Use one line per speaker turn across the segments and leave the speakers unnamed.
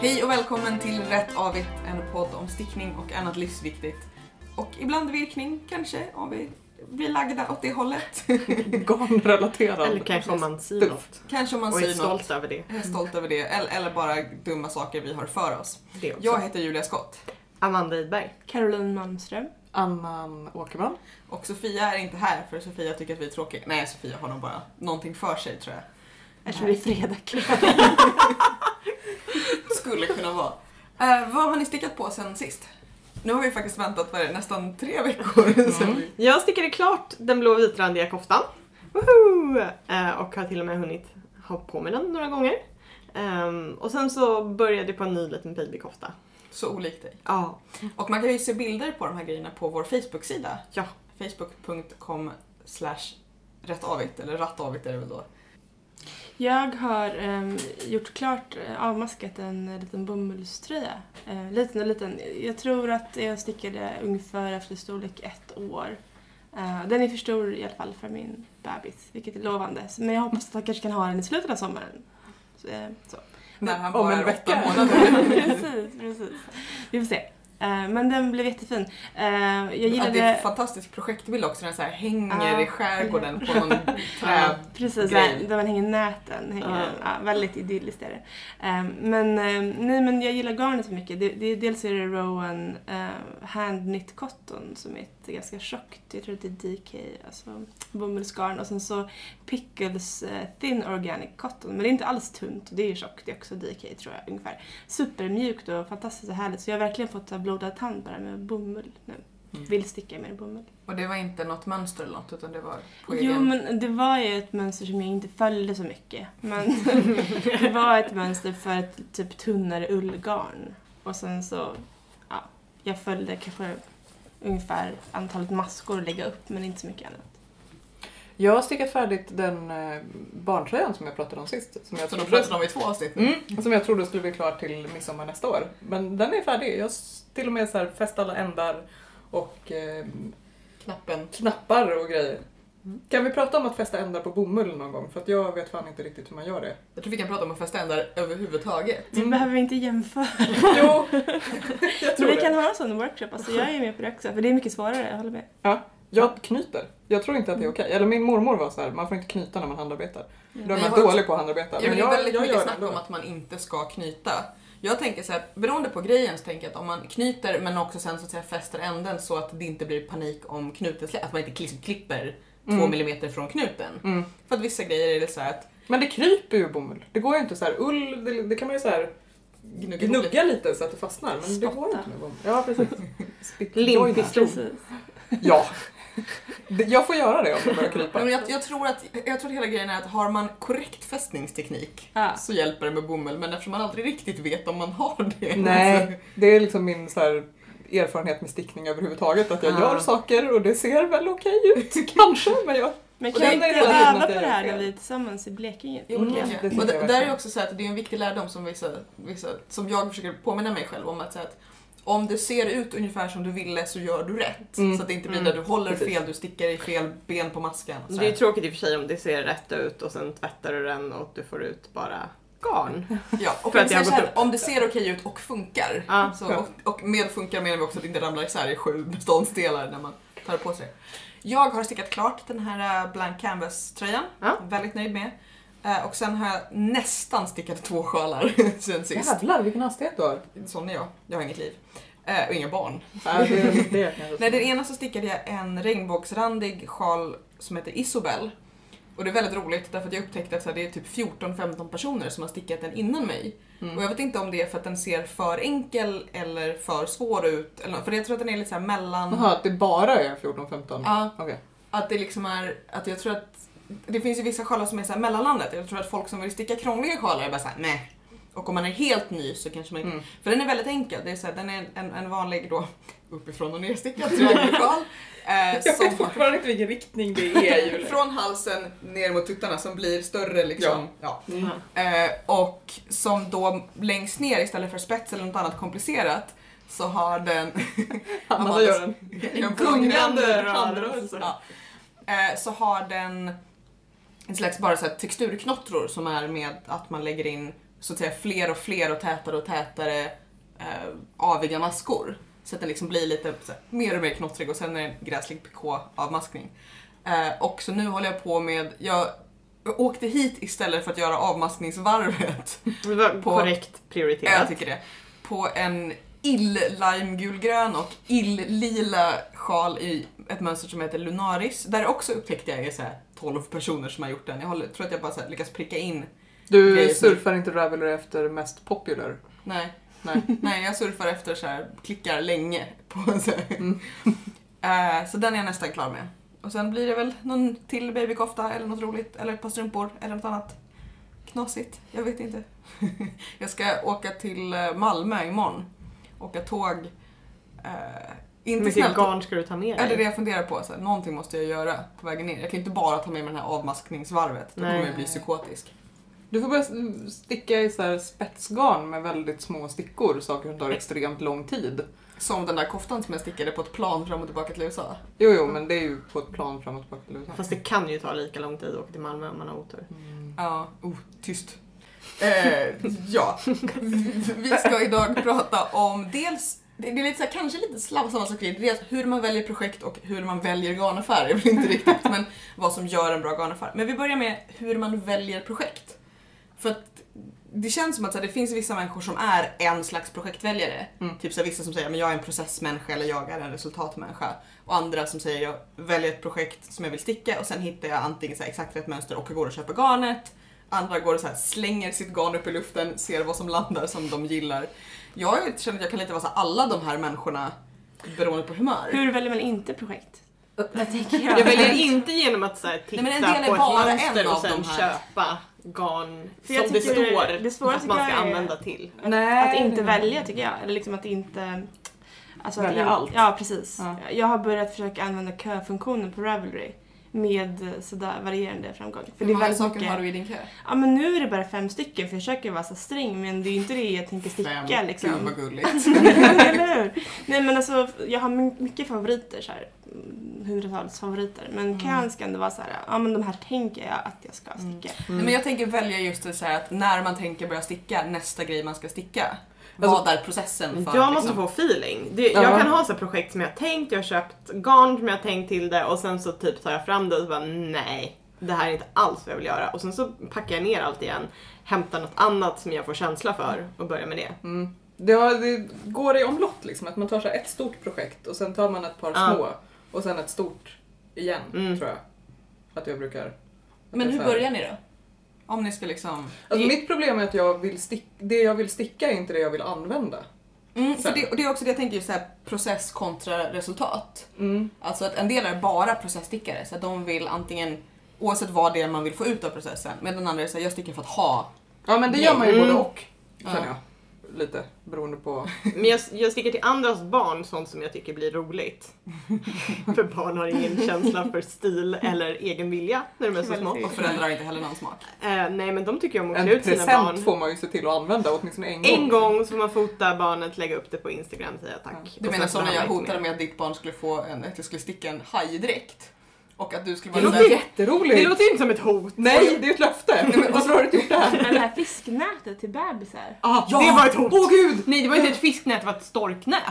Hej och välkommen till Rätt Avigt, en podd om stickning och annat livsviktigt. Och ibland virkning, kanske, om vi blir lagda åt det hållet.
Garnrelaterad.
Eller kanske om man syr
Stuff.
något
kanske om man
och är
säger något.
stolt över det.
Jag är stolt över det, eller, eller bara dumma saker vi har för oss.
det också.
Jag heter Julia Skott
Amanda Idberg.
Caroline Malmström.
Annan Åkerman.
och Sofia är inte här för Sofia tycker att vi är tråkiga. Nej, Sofia har nog bara någonting för sig tror jag.
Eftersom det är fredag kväll.
Skulle kunna vara. Eh, vad har ni stickat på sen sist? Nu har vi faktiskt väntat vad är det, nästan tre veckor
Mm.
sen vi...
Jag stickade klart den blå och vitrandiga koftan. Woho! Eh, och har till och med hunnit ha på mig den några gånger. Ehm, och sen så började jag på en ny liten babykofta.
Så olikt dig.
Ja.
Och man kan ju se bilder på de här grejerna på vår Facebook-sida.
Ja.
Facebook.com slash rättavigt, eller rattavigt är det väl då.
Jag har ehm, gjort klart, eh, avmaskat en eh, liten bomullströja. Eh, liten och liten. Jag tror att jag stickade ungefär efter storlek ett år. Eh, den är för stor i alla fall för min bebis, vilket är lovande. Så- Men jag hoppas att jag kanske kan ha den i slutet av sommaren. Så, eh, så.
När han
Om
bara
en
är åtta
vecka.
månader.
precis, precis. Vi får se. Eh, men den blev jättefin. Eh, jag gillade...
Att det är en fantastisk projektbild också, den så här hänger
Ja.
i skärgården på någon
Ja.
trä...
Precis,
grej.
där, där man hänger näten. Hänger,
Ja.
ja. väldigt idylliskt är det. Ehm, men, ehm, nej, men jag gillar garnet så mycket. Det, det, dels är det Rowan uh, Handknit Cotton som är ett ganska tjockt, jag tror att det är DK, alltså bomullsgarn. Och sen så Pickles eh, Thin Organic Cotton. Men det är inte alls tunt, det är tjockt, det är också DK tror jag ungefär. Supermjukt och fantastiskt och härligt. Så jag har verkligen fått så här blodad tand bara med bomull nu.
Mm.
Vill sticka mer bomull.
Och det var inte något mönster eller något, utan det var på
Jo
egen...
men det var ju ett mönster som jag inte följde så mycket. Men det var ett mönster för ett typ tunnare ullgarn. Och sen så, ja, jag följde kanske ungefär antalet maskor att lägga upp men inte så mycket annat.
Jag har stickat färdigt den eh, barntröjan som jag pratade om sist. Som jag,
Så då
trodde,
plötsligt har vi två avsnitt nu.
mm, som jag trodde skulle bli klar till midsommar nästa år. Men den är färdig. Jag s- till och med så här fäst alla ändar och eh,
Knappen.
knappar och grejer. Kan vi prata om att fästa ändar på bomull någon gång? För att jag vet fan inte riktigt hur man gör det.
Jag tror vi kan prata om att fästa ändar överhuvudtaget.
Vi behöver inte jämföra.
Jo, Mm. jag
Men
tror
vi
det.
kan ha en sån workshop, alltså jag är med på det också. För det är mycket svårare, jag håller med.
Jag knyter. Jag tror inte att det är okej. Eller min mormor var så här, man får inte knyta när man handarbetar. Då
Men
är
jag
man
har-
dålig på att handarbeta.
Ja, men det är väldigt mycket
gör det
snack
ändå.
om att man inte ska knyta. Jag tänker så här, beroende på grejen så tänker jag att om man knyter men också sen så att säga fäster änden så att det inte blir panik om knuten slä- att man inte kli- klipper två
Mm.
millimeter från knuten.
Mm.
För att vissa grejer är det så här att
Men det kryper ju bomull. Det går ju inte så här. Ull, det, det kan man ju så här
gnugga ihop lite.
gnugga lite så att det fastnar. Men det går
Spotta.
inte med bomull. Ja, precis. Spit-
Limpistol.
Precis.
Ja. Det- Jag får göra det om det börjar
Nej,
krypa.
men jag, jag, tror att, jag tror att hela grejen är att har man korrekt fästningsteknik
Ja.
så hjälper det med bomull men eftersom man aldrig riktigt vet om man har det.
Nej, det är liksom min så här erfarenhet med stickning överhuvudtaget. Att jag
Ah.
gör saker och det ser väl okej ut kanske. Men jag...
Men
Och
kan vi
den är
inte
hela tiden
öva
att
på
jag
det
gör
här när
fel.
vi är tillsammans i Blekinge?
Jo,
Mm,
det
det
kanske.
tycker
och det,
jag
där är
verkligen.
också så här att det är en viktig lärdom som, vissa, vissa, som jag försöker påminna mig själv om. Att, så här att om det ser ut ungefär som du ville så gör du rätt.
Mm.
Så att det inte blir
Mm.
där du håller
Precis.
fel, du stickar i fel ben på masken. Så
Det är ju
här.
tråkigt i och för sig om det ser rätt ut och sen tvättar du den och du får ut bara garn.
Ja, och
För
om, det
att jag
ser
har
så
gått
här, om det ser okej ut och funkar.
Ja.
så, och, och med funkar menar vi också att det inte ramlar isär i sju beståndsdelar när man tar på sig. Jag har stickat klart den här eh, Blank Canvas-tröjan.
Ja.
Väldigt nöjd med. Eh, Och sen har jag nästan stickat två sjalar sen sist.
Jävlar vilken hastighet du har.
Sån är jag. Jag har inget liv. Eh, och inga barn.
Ja, det är det kanske.
Nej, den ena så stickade jag en regnbågsrandig sjal som heter Isobel. Och det är väldigt roligt därför att jag upptäckte att så här, det är typ 14-15 personer som har stickat den innan mig.
Mm.
Och jag vet inte om det är för att den ser för enkel eller för svår ut. Eller, för jag tror att den är lite så här mellan...
Jaha, att det bara är 14-15?
Ja,
Okej.
att det liksom är... Att jag tror att... Det finns ju vissa sjalar som är så här mellanlandet. Jag tror att folk som vill sticka krångliga sjalar är bara såhär, nej. Och om man är helt ny så kanske man inte...
Mm.
För den är väldigt enkel. Det är så här, den är en, en vanlig då uppifrån och nerstickad triangelsjal. Eh,
Jag vet
som,
fortfarande inte vilken riktning det är Julia.
från halsen ner mot tuttarna som blir större liksom. Ja.
Mm.
Eh, och som då längst ner istället för spets eller något annat komplicerat så har den
Amanda
Amanda-
gör en, en gungande handrörelse.
Ja. Eh, så har den en slags bara så här texturknottror som är med att man lägger in så att säga fler och fler och tätare och tätare eh, aviga maskor. Så att den liksom blir lite så här, mer och mer knottrig och sen är det en gräslig PK-avmaskning. Eh, och så nu håller jag på med, jag åkte hit istället för att göra avmaskningsvarvet.
Det var
På-
korrekt
Ja, typ. jag
prioriterat.
tycker det. På en ill-limegulgrön och ill-lila sjal i ett mönster som heter Lunaris. Där också upptäckte jag är så här 12 personer som har gjort den. Jag håller, tror att jag bara så här lyckas pricka in. Det är
Du
just
surfar inte Ravelry efter mest popular.
Nej,
Nej.
nej jag surfar efter så här, klickar länge. På så, här.
Mm.
Eh, så den är jag nästan klar med. Och sen blir det väl någon till babykofta eller något roligt eller ett par strumpor eller något annat knasigt. Jag vet inte. jag ska åka till eh, Malmö imorgon. Åka tåg. Eh,
Hur
inte
mycket
snällt.
garn ska du ta med
Ja, det är det
dig?
jag funderar på. Så här, någonting måste jag göra på vägen ner. Jag kan inte bara ta med mig det här avmaskningsvarvet. Då
Nej.
kommer jag bli psykotisk.
Du får börja s- sticka i så här spetsgarn med väldigt små stickor, saker som tar extremt lång tid.
Som den där koftan som jag stickade på ett plan fram och tillbaka till USA.
Jo, jo, men det är ju på ett plan framåt bak till USA.
Fast det kan ju ta lika lång tid att åka till Malmö om man har otur.
Mm.
Ja, oh, tyst. Eh, ja, vi ska idag prata om dels, det är lite så här, kanske lite slav, samma sak, dels hur man väljer projekt och hur man väljer garnaffär. Jag vill inte riktigt, men vad som gör en bra garnaffär. Men vi börjar med hur man väljer projekt. För att det känns som att så här, det finns vissa människor som är en slags projektväljare.
Mm.
Typ så här, vissa som säger men jag är en processmänniska eller jag är en resultatmänniska. Och andra som säger jag väljer ett projekt som jag vill sticka och sen hittar jag antingen så här, exakt rätt mönster och går och köper garnet. Andra går och så här, slänger sitt garn upp i luften, ser vad som landar som de gillar. Jag känner att jag kan lite vara så här, alla de här människorna beroende på humör.
Hur väljer man inte projekt? Vad tänker jag?
Jag väljer inte genom att så här, titta
Nej, men en del är
på ett
bara
mönster
en
och
av
sen
de här.
köpa garn
För jag
som det
tycker
står
det svåra
att man ska
tycker jag är-
använda till.
Nej.
Att inte välja tycker jag. Eller liksom att inte... Alltså att
Välja
in-
allt.
Ja, precis.
Ja.
Jag har börjat försöka använda köfunktionen på Ravelry med eh, sådär varierande framgång. För det
Hur
är
många
väldigt
saker
mycket...
har du i din kö?
Ja men nu är det bara fem stycken för jag försöker vara så sträng men det är ju inte det jag tänker sticka liksom.
Gud vad gulligt.
Eller hur? Nej men alltså jag har my- mycket favoriter så här. mm, Hundratals favoriter. Men mm. kan ska ändå vara så här, ja men de här tänker jag att jag ska sticka.
Mm.
Nej, men jag tänker välja just det så här att när man tänker börja sticka, nästa grej man ska sticka.
Alltså,
vad är processen för?
Jag måste
liksom?
få feeling. Det,
Ja.
Jag kan ha så här projekt som jag har tänkt, jag har köpt garn som jag har tänkt till det och sen så typ tar jag fram det och så bara nej, det här är inte alls vad jag vill göra. Och sen så packar jag ner allt igen, hämtar något annat som jag får känsla för och börjar med det.
Mm. Det, har, det går i omlott liksom, att man tar så här ett stort projekt och sen tar man ett par
Ja.
små och sen ett stort igen,
Mm.
tror jag. Att jag brukar... att
Men
jag
hur
så här-
börjar ni då? Om ni ska liksom...
Alltså, mitt problem är att jag vill stick, det jag vill sticka är inte det jag vill använda.
Mm, för
Sen.
det, och det är också det jag tänker, just så här, process kontra resultat.
Mm.
Alltså att en del är bara processstickare, så att de vill antingen, oavsett vad det är man vill få ut av processen, medan andra är såhär, jag stickar för att ha.
Ja men det gör man ju
Mm.
både och, känner
Ja.
jag. Lite beroende på...
Men jag, jag sticker till andras barn sånt som jag tycker blir roligt. för barn har ingen känsla för stil eller egen vilja när de är så små.
Väldigt
Och föräldrar har inte heller någon smak.
Eh, nej men de tycker ju om att
En
klä ut sina barn.
present får man ju se till att använda åtminstone en gång.
En gång så får man fota barnet, lägga upp det på Instagram, säga
Ja.
tack.
Du
Och
menar
sen får
som när
han
jag
inte
hotade
mer.
med att ditt barn skulle få en, att jag skulle sticka en hajdräkt? Och att du skulle
Det
vara
låter
såhär,
jätteroligt!
Det låter ju inte som ett hot.
Nej, det är ett löfte! Varför har du inte gjort det här?
Men det här fisknätet till bebisar.
Ah,
Ja! Det var ett hot!
Åh gud!
Nej, det var inte ett fisknät, det var ett storknät.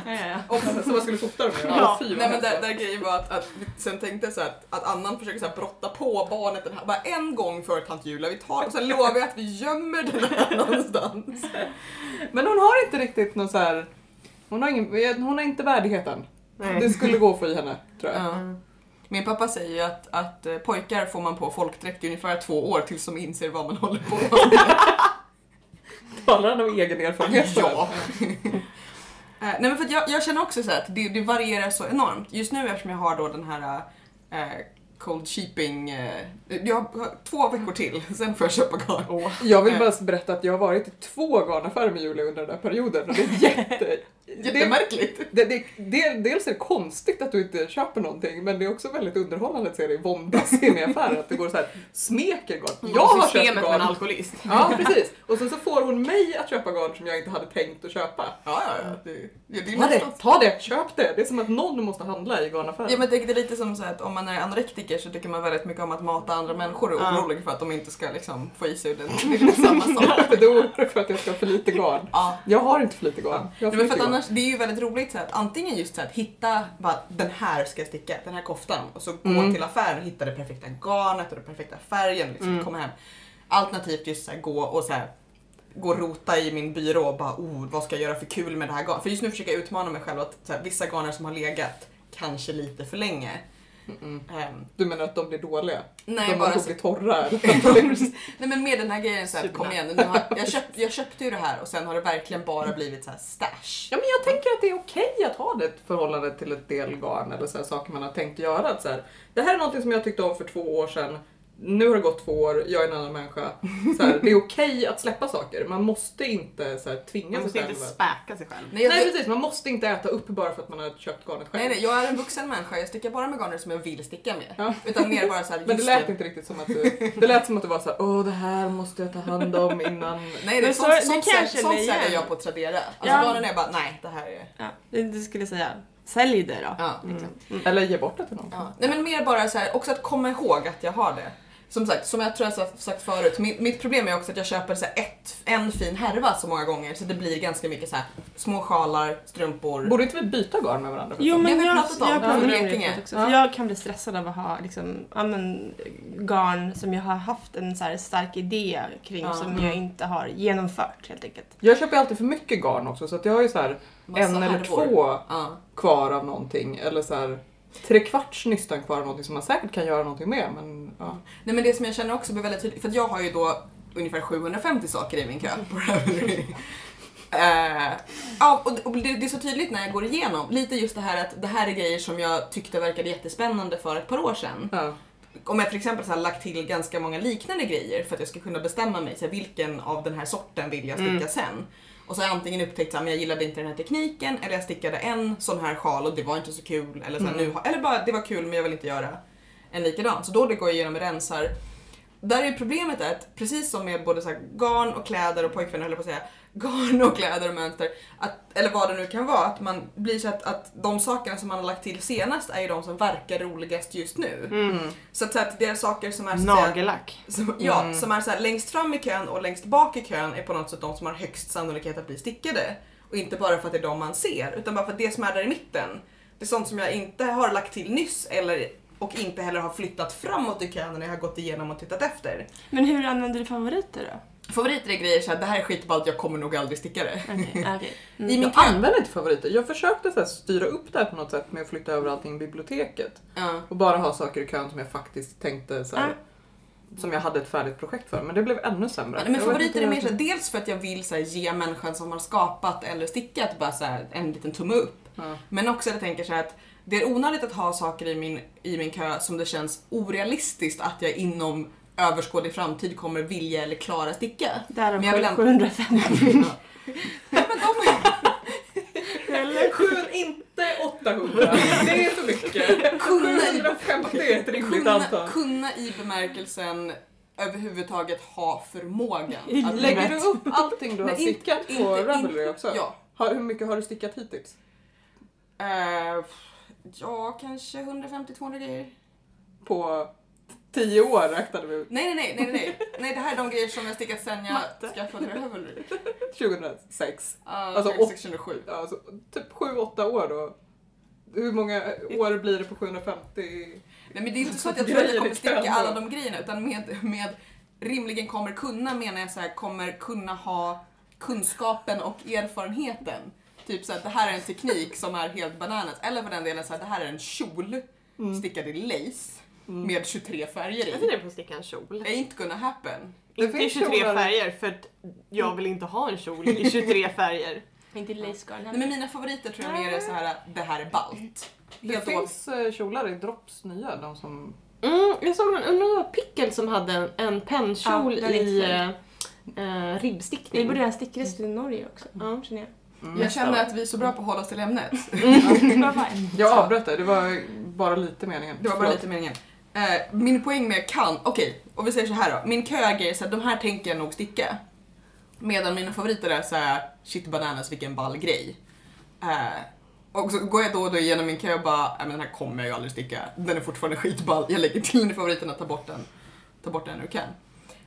Och, som man skulle fota dem med.
Ja.
Fy,
Nej
vad
men
hemskt.
där, där grejen var att, att vi sen tänkte jag så här att, att annan försöker så här brotta på barnet den här, bara en gång före tant Julia, vi tar och sen lovar jag att vi gömmer den här någonstans.
Men hon har inte riktigt någon så här... Hon har, ingen, hon har inte värdigheten. Det skulle gå för i henne, tror jag.
Ja. Min pappa säger ju att, att eh, pojkar får man på folkdräkt i ungefär två år tills de inser vad man håller på med.
Talar han om egen erfarenhet?
Ja. Eh, Nej men för att jag, jag känner också så här att det, det varierar så enormt. Just nu eftersom jag har då den här eh, cold sheeping, eh, jag har två veckor till, sen får jag köpa garn.
Åh.
Jag vill bara berätta att jag har varit i två garnaffärer med Julia under den där perioden. och Det är jätte,
Jättemärkligt.
Det, det, det, dels är det konstigt att du inte köper någonting men det är också väldigt underhållande att se det i våndas inne i affären. Att det går så här, smeker
Mm,
garn. Jag har köpt
Systemet med en
garn.
alkoholist.
Ja precis. Och sen så får hon mig att köpa garn som jag inte hade tänkt att köpa.
Ja, ja, ja. Det, ja, det är
Ta det,
nästan...
ta det, köp det! Det är som att någon måste handla i garnaffären.
Ja, men det det är lite som så här att om man är anorektiker så tycker man väldigt mycket om att mata andra människor och är
Ja.
orolig för att de inte ska liksom, få i sig den. Det är liksom samma sak.
För då oroar jag för att jag ska ha för lite garn.
Ja.
Jag har inte för lite garn.
Nej, men
Jag har för
för
lite
att
garn.
annars, det är ju väldigt roligt så här, att antingen just så här, att hitta bara, den här ska jag sticka, den här koftan och så gå
Mm.
till affären och hitta det perfekta garnet och den perfekta färgen och liksom
Mm.
komma hem. Alternativt just så här, gå och så här, gå och rota i min byrå och bara oh, vad ska jag göra för kul med det här garnet? För just nu försöker jag utmana mig själv att så här, vissa garner som har legat kanske lite för länge.
Mm-mm.
ehm,
Du menar att de blir dåliga?
nej,
de
bara
bara
så,
blir torra? eller?
Precis. nej men med den här grejen så här,
Superna.
kom igen nu, nu har, jag, köp, jag köpte ju det här och sen har det verkligen bara blivit så här stash.
Ja men jag tänker att det är okej att ha det förhållande till ett del garn eller så här, saker man har tänkt göra. Att så här, det här är någonting som jag tyckte om för två år sedan. Nu har det gått två år, jag är en annan människa. Så här, det är okej att släppa saker. Man måste inte så här, tvinga
Man
sig
måste
själv.
inte späka sig själv.
Nej, jag-
Nej precis, man måste inte äta upp bara för att man har köpt garnet själv.
Nej, nej, jag är en vuxen människa. Jag stickar bara med garner som jag vill sticka med.
Ja.
Utan mer bara såhär,
Men det lät inte riktigt som att du, det lät som att du var såhär, åh det här måste jag ta hand om innan.
Nej, nej,
Men
sånt,
så-
sånt,
det
sälj-
kanske
sånt
ni
säljer
gör.
jag på Tradera. Alltså
Ja.
garnen är bara, nej det här är...
Ja, det det skulle jag säga. Sälj det då.
Ja,
Mm.
Eller ge bort det till någon.
ja. Nej men mer bara såhär, också att komma ihåg att jag har det. Som sagt, som jag tror jag sa- sagt förut, mitt, mitt problem är också att jag köper så här ett, en fin härva så många gånger så det blir ganska mycket så här små sjalar, strumpor.
Borde inte vi byta garn med varandra?
Jo men
Det har vi
jag, jag
pratat om. Ja,
pratar om det
Blekinge.
förut också.
Ja.
För jag kan bli stressad av att ha liksom, ja, men, garn som jag har haft en så här stark idé kring
Ja.
som jag inte har genomfört helt enkelt.
Jag köper ju alltid för mycket garn också så att jag har ju så här
Massa
en eller
härvor.
två
Ja.
kvar av någonting eller så här tre kvarts nystan kvar av någonting som man säkert kan göra någonting med men ja.
Nej men det som jag känner också blir väldigt tydligt, för att jag har ju då ungefär 750 saker i min kö på Ravelry. Eh, ja, och det- och det, det är så tydligt när jag går igenom, lite just det här att det här är grejer som jag tyckte verkade jättespännande för ett par år sedan.
ja.
Om jag till exempel så här lagt till ganska många liknande grejer för att jag ska kunna bestämma mig, så här, vilken av den här sorten vill jag sticka sen? Och så har jag antingen upptäckt att jag gillade inte den här tekniken, eller jag stickade en sån här sjal och det var inte så kul, eller, så här, nu, har- eller bara det var kul men jag vill inte göra en likadan. Så då det går jag igenom och rensar. Där är problemet är att precis som med både så här garn och kläder och pojkvänner höll jag på att säga, garn och kläder och mönster, att, eller vad det nu kan vara, att man blir så att, att de sakerna som man har lagt till senast är ju de som verkar roligast just nu. Så, att, så att det är saker som är
Alltså,
så att säga-
Mm. Nagellack.
som, ja,
Mm.
som är så här, längst fram i kön och längst bak i kön är på något sätt de som har högst sannolikhet att bli stickade. Och inte bara för att det är de man ser, utan bara för att det som är där i mitten, det är sånt som jag inte har lagt till nyss eller, och inte heller har flyttat framåt i kön när jag har gått igenom och tittat efter.
Men hur använder du favoriter då?
Favoriter är grejer såhär, det här är skitballt, jag kommer nog aldrig sticka det.
Okej, Mm. okej.
I min
Jag
kö.
använder inte favoriter. Jag försökte så här styra upp det här på något sätt med att flytta över allting i biblioteket
Ja.
och bara ha saker i kön som jag faktiskt tänkte så här, som jag hade ett färdigt projekt för men det blev ännu sämre.
Ah. Ja, men
Jag vet inte
favoriter är
vad
mer
jag-
såhär, dels för att jag vill såhär, ge människan som har skapat eller stickat bara såhär, en liten tumme upp.
Ja.
Men också att jag tänker så här att det är onödigt att ha saker i min, i min kö som det känns orealistiskt att jag inom överskådlig framtid kommer vilja eller klara sticka.
Därav
Men jag vill ändå-
750.
Nej, men de
Eller?
Sju, inte 800. Det är för mycket.
Kunna i-
750 är ett rimligt antal.
kunna, kunna i bemärkelsen överhuvudtaget ha förmågan.
I
att-
Lägger du upp allting du har
Men inte-
stickat på
inte-
Ravelry också?
Ja.
Har, hur mycket har du stickat hittills?
Eh, ja, kanske 150-200 grejer.
På tio år räknade vi ut.
Nej, nej, nej, nej, nej. Nej, det här är de grejer som jag stickat sen jag skaffade Ravelry. Uh,
2006.
alltså,
och-
607.
Alltså, typ sju, åtta år då. Hur många år blir det på 750?
Nej men det är inte så att jag tror att jag
Grejer i
kommer sticka
kön
alla
då.
de grejerna utan med, med rimligen kommer kunna menar jag så här kommer kunna ha kunskapen och erfarenheten. Typ så här, det här är en teknik som är helt bananas. Eller för den delen så här, det här är en kjol stickad i lace med 23 färger
Jag funderar
i.
på att sticka en kjol.
Ain't gonna happen.
Inte i
finns
23
kjolar.
färger för att jag vill inte ha en kjol i 23 färger.
Inte lacegarn
Nej men mina favoriter tror jag mer är så här, det här är ballt.
Det
Helt oavsett.
finns eh, kjolar i Drops nya, de som...
Mm, jag såg någon, undrar om det var Pickel som hade en, en pennkjol
Ja, den är
i
inte
eh, eh,
Vi
ribbstickning.
borde ha en stickrest i Norge också.
Ja.
känner jag.
Jag känner att vi är så bra på att hålla oss till ämnet.
Jag avbröt det, det var bara lite meningen.
Det var bara lite meningen. Eh, min poäng med kan, okej, och vi säger så här då. Min köägare är så här, de här tänker jag nog sticka. Medan mina favoriter är så här, shit bananas vilken ball grej. Eh, och så går jag då och då igenom min kö och bara, nej men den här kommer jag ju aldrig sticka. Den är fortfarande skitball, jag lägger till den i favoriterna, ta bort den. Ta bort den när du kan.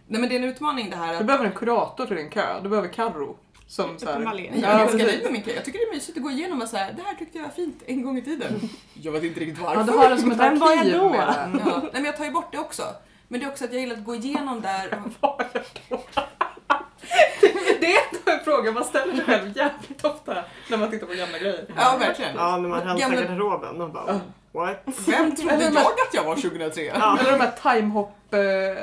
Nej men det är en utmaning det här
Du
att
behöver en kurator till din kö, du behöver Carro.
Typ
Som så här,
jag är ganska nöjd med min kö. Jag tycker det är mysigt att gå igenom och säga, det här tyckte jag var fint en gång i tiden. Jag vet inte riktigt varför.
ja, du har den som ett
Vem var jag
arkiv
då?
med den.
Ja, nej men jag tar ju bort det också. Men det är också att jag gillar att gå igenom där.
Det är ändå en fråga man ställer sig själv jävligt ofta när man tittar på gamla grejer.
Ja, verkligen.
Ja, när man rensar
Gamla-
garderoben och bara what?
Vem trodde jag att jag var 2003?
Ja.
Eller de här timehop, eh,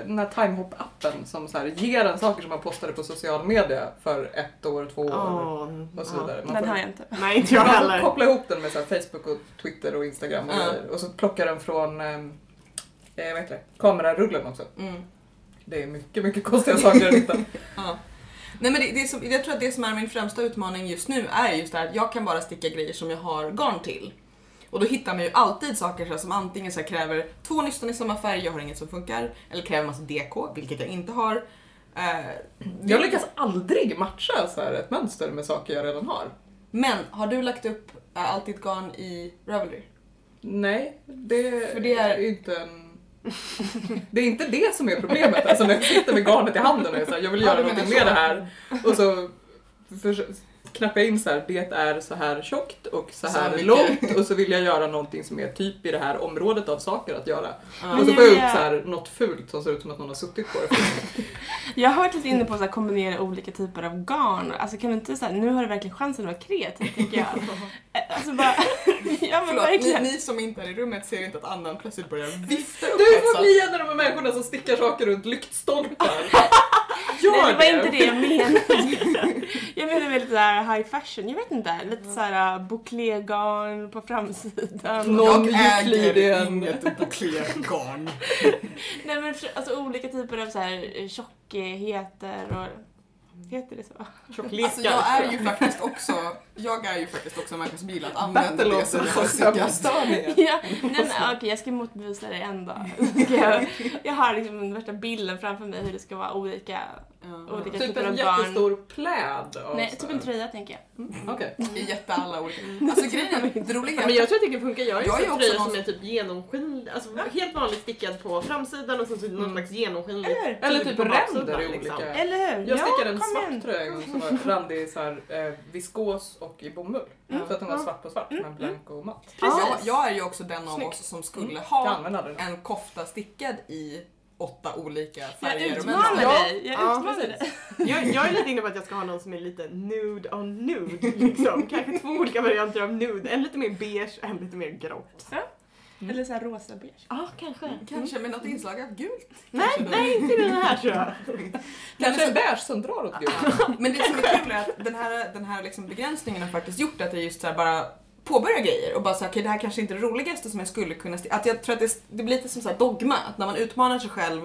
den här timehop-appen som så här ger en saker som man postade på social media för ett år, två år och så vidare. Alltså, Man
Den
får,
har jag inte.
Nej, inte jag
man får
heller.
koppla ihop den med så här Facebook och Twitter och Instagram och
Ja.
grejer. Och så plockar den från eh, eh, vad heter det? kamerarullen också.
Mm.
Det är mycket, mycket konstiga saker att hitta.
Ja. Nej, men det, det är som, jag tror att det som är min främsta utmaning just nu är just det här att jag kan bara sticka grejer som jag har garn till. Och då hittar man ju alltid saker så här, som antingen så här, kräver två nystan i samma färg, jag har inget som funkar, eller kräver massa DK, vilket jag inte har. Eh,
Jag lyckas aldrig matcha så här ett mönster med saker jag redan har.
Men har du lagt upp eh, allt ditt garn i Ravelry?
Nej, det,
För det är-
är ju inte en... Det är inte det som är problemet. Alltså när jag sitter med garnet i handen och är så här, jag vill
Ja,
göra
du menar
någonting
så.
med det här. Och så för, knappar jag in så här, det är så här tjockt och så
Så
här
mycket.
långt och så vill jag göra någonting som är typ i det här området av saker att göra.
Ja.
Och så
Men
får jag upp så
Julia-
här, något fult som ser ut som att någon har suttit på det.
Jag har varit lite inne på att kombinera olika typer av garn. Alltså kan du inte säga nu har du verkligen chansen att vara kreativ tycker jag. Eh, Alltså bara, ja men
Förlåt, ni,
verkligen.
ni som inte är i rummet ser inte att andan plötsligt börjar vifta
Du
upp
får
hetsan.
bli en av de här människorna som stickar saker runt lyktstolpar.
Nej, det
Gör
var inte det jag menade. Jag menar väl lite där high fashion, jag vet inte, lite såhär bouclégarn på framsidan.
Mm.
Nå- Någon
jag äger
Euclidean.
inget bouclégarn.
Nej men för- alltså olika typer av såhär tjockheter och Heter det så?
Alltså jag är ju faktiskt också, jag är ju faktiskt också en människa som gillar att använda det
Alltså,
som hörselkast.
sömnstörningar.
Ja, nej, men, okej jag ska motbevisa det en dag. Ska Jag, jag har liksom den värsta bilden framför mig hur det ska vara olika. Olika
Typ
typer
en
av garn.
jättestor pläd av
Nej,
så
typ
här-
en tröja tänker jag.
Okej.
I jätte alla olika. Alltså grejen är, det roliga
Ja, Men jag tror att det kan funka. Jag har ju
Jag är
sett
också
tröjor
någon-
som är typ genomskinlig, alltså helt vanligt stickad på framsidan och sen så någon slags genomskinlig.
Eller hur?
Eller typ
på baksidan,
ränder i
liksom.
olika...
Eller hur?
Jag typ stickade en
kom
svart
igen.
tröja en gång som var randig i så här, eh, viskos och i bomull.
Mm.
Så att den var svart på svart men blank och matt.
jag, jag är ju också den av oss som skulle
Jag
ha
använde aldrig den.
en kofta stickad i åtta olika
Jag
färger.
utmanar
mönster.
dig. Jag
Ja,
utmanar
precis.
dig.
Jag, jag är lite inne på att jag ska ha någon som är lite nude on nude. Liksom. Kanske två olika varianter av nude. En lite mer beige och en lite mer grått.
Eller såhär rosa beige.
Ja, kanske.
Kanske med något inslag av gult.
Nej, nej, inte den här tror jag.
Kanske en beige som drar åt gult.
Men det som är kul är att den här, den här liksom begränsningen har faktiskt gjort att jag just så här bara påbörjar grejer och bara säga okej det här kanske inte är det roligaste som jag skulle kunna sti- att jag tror att det, det blir lite som så här dogma att när man utmanar sig själv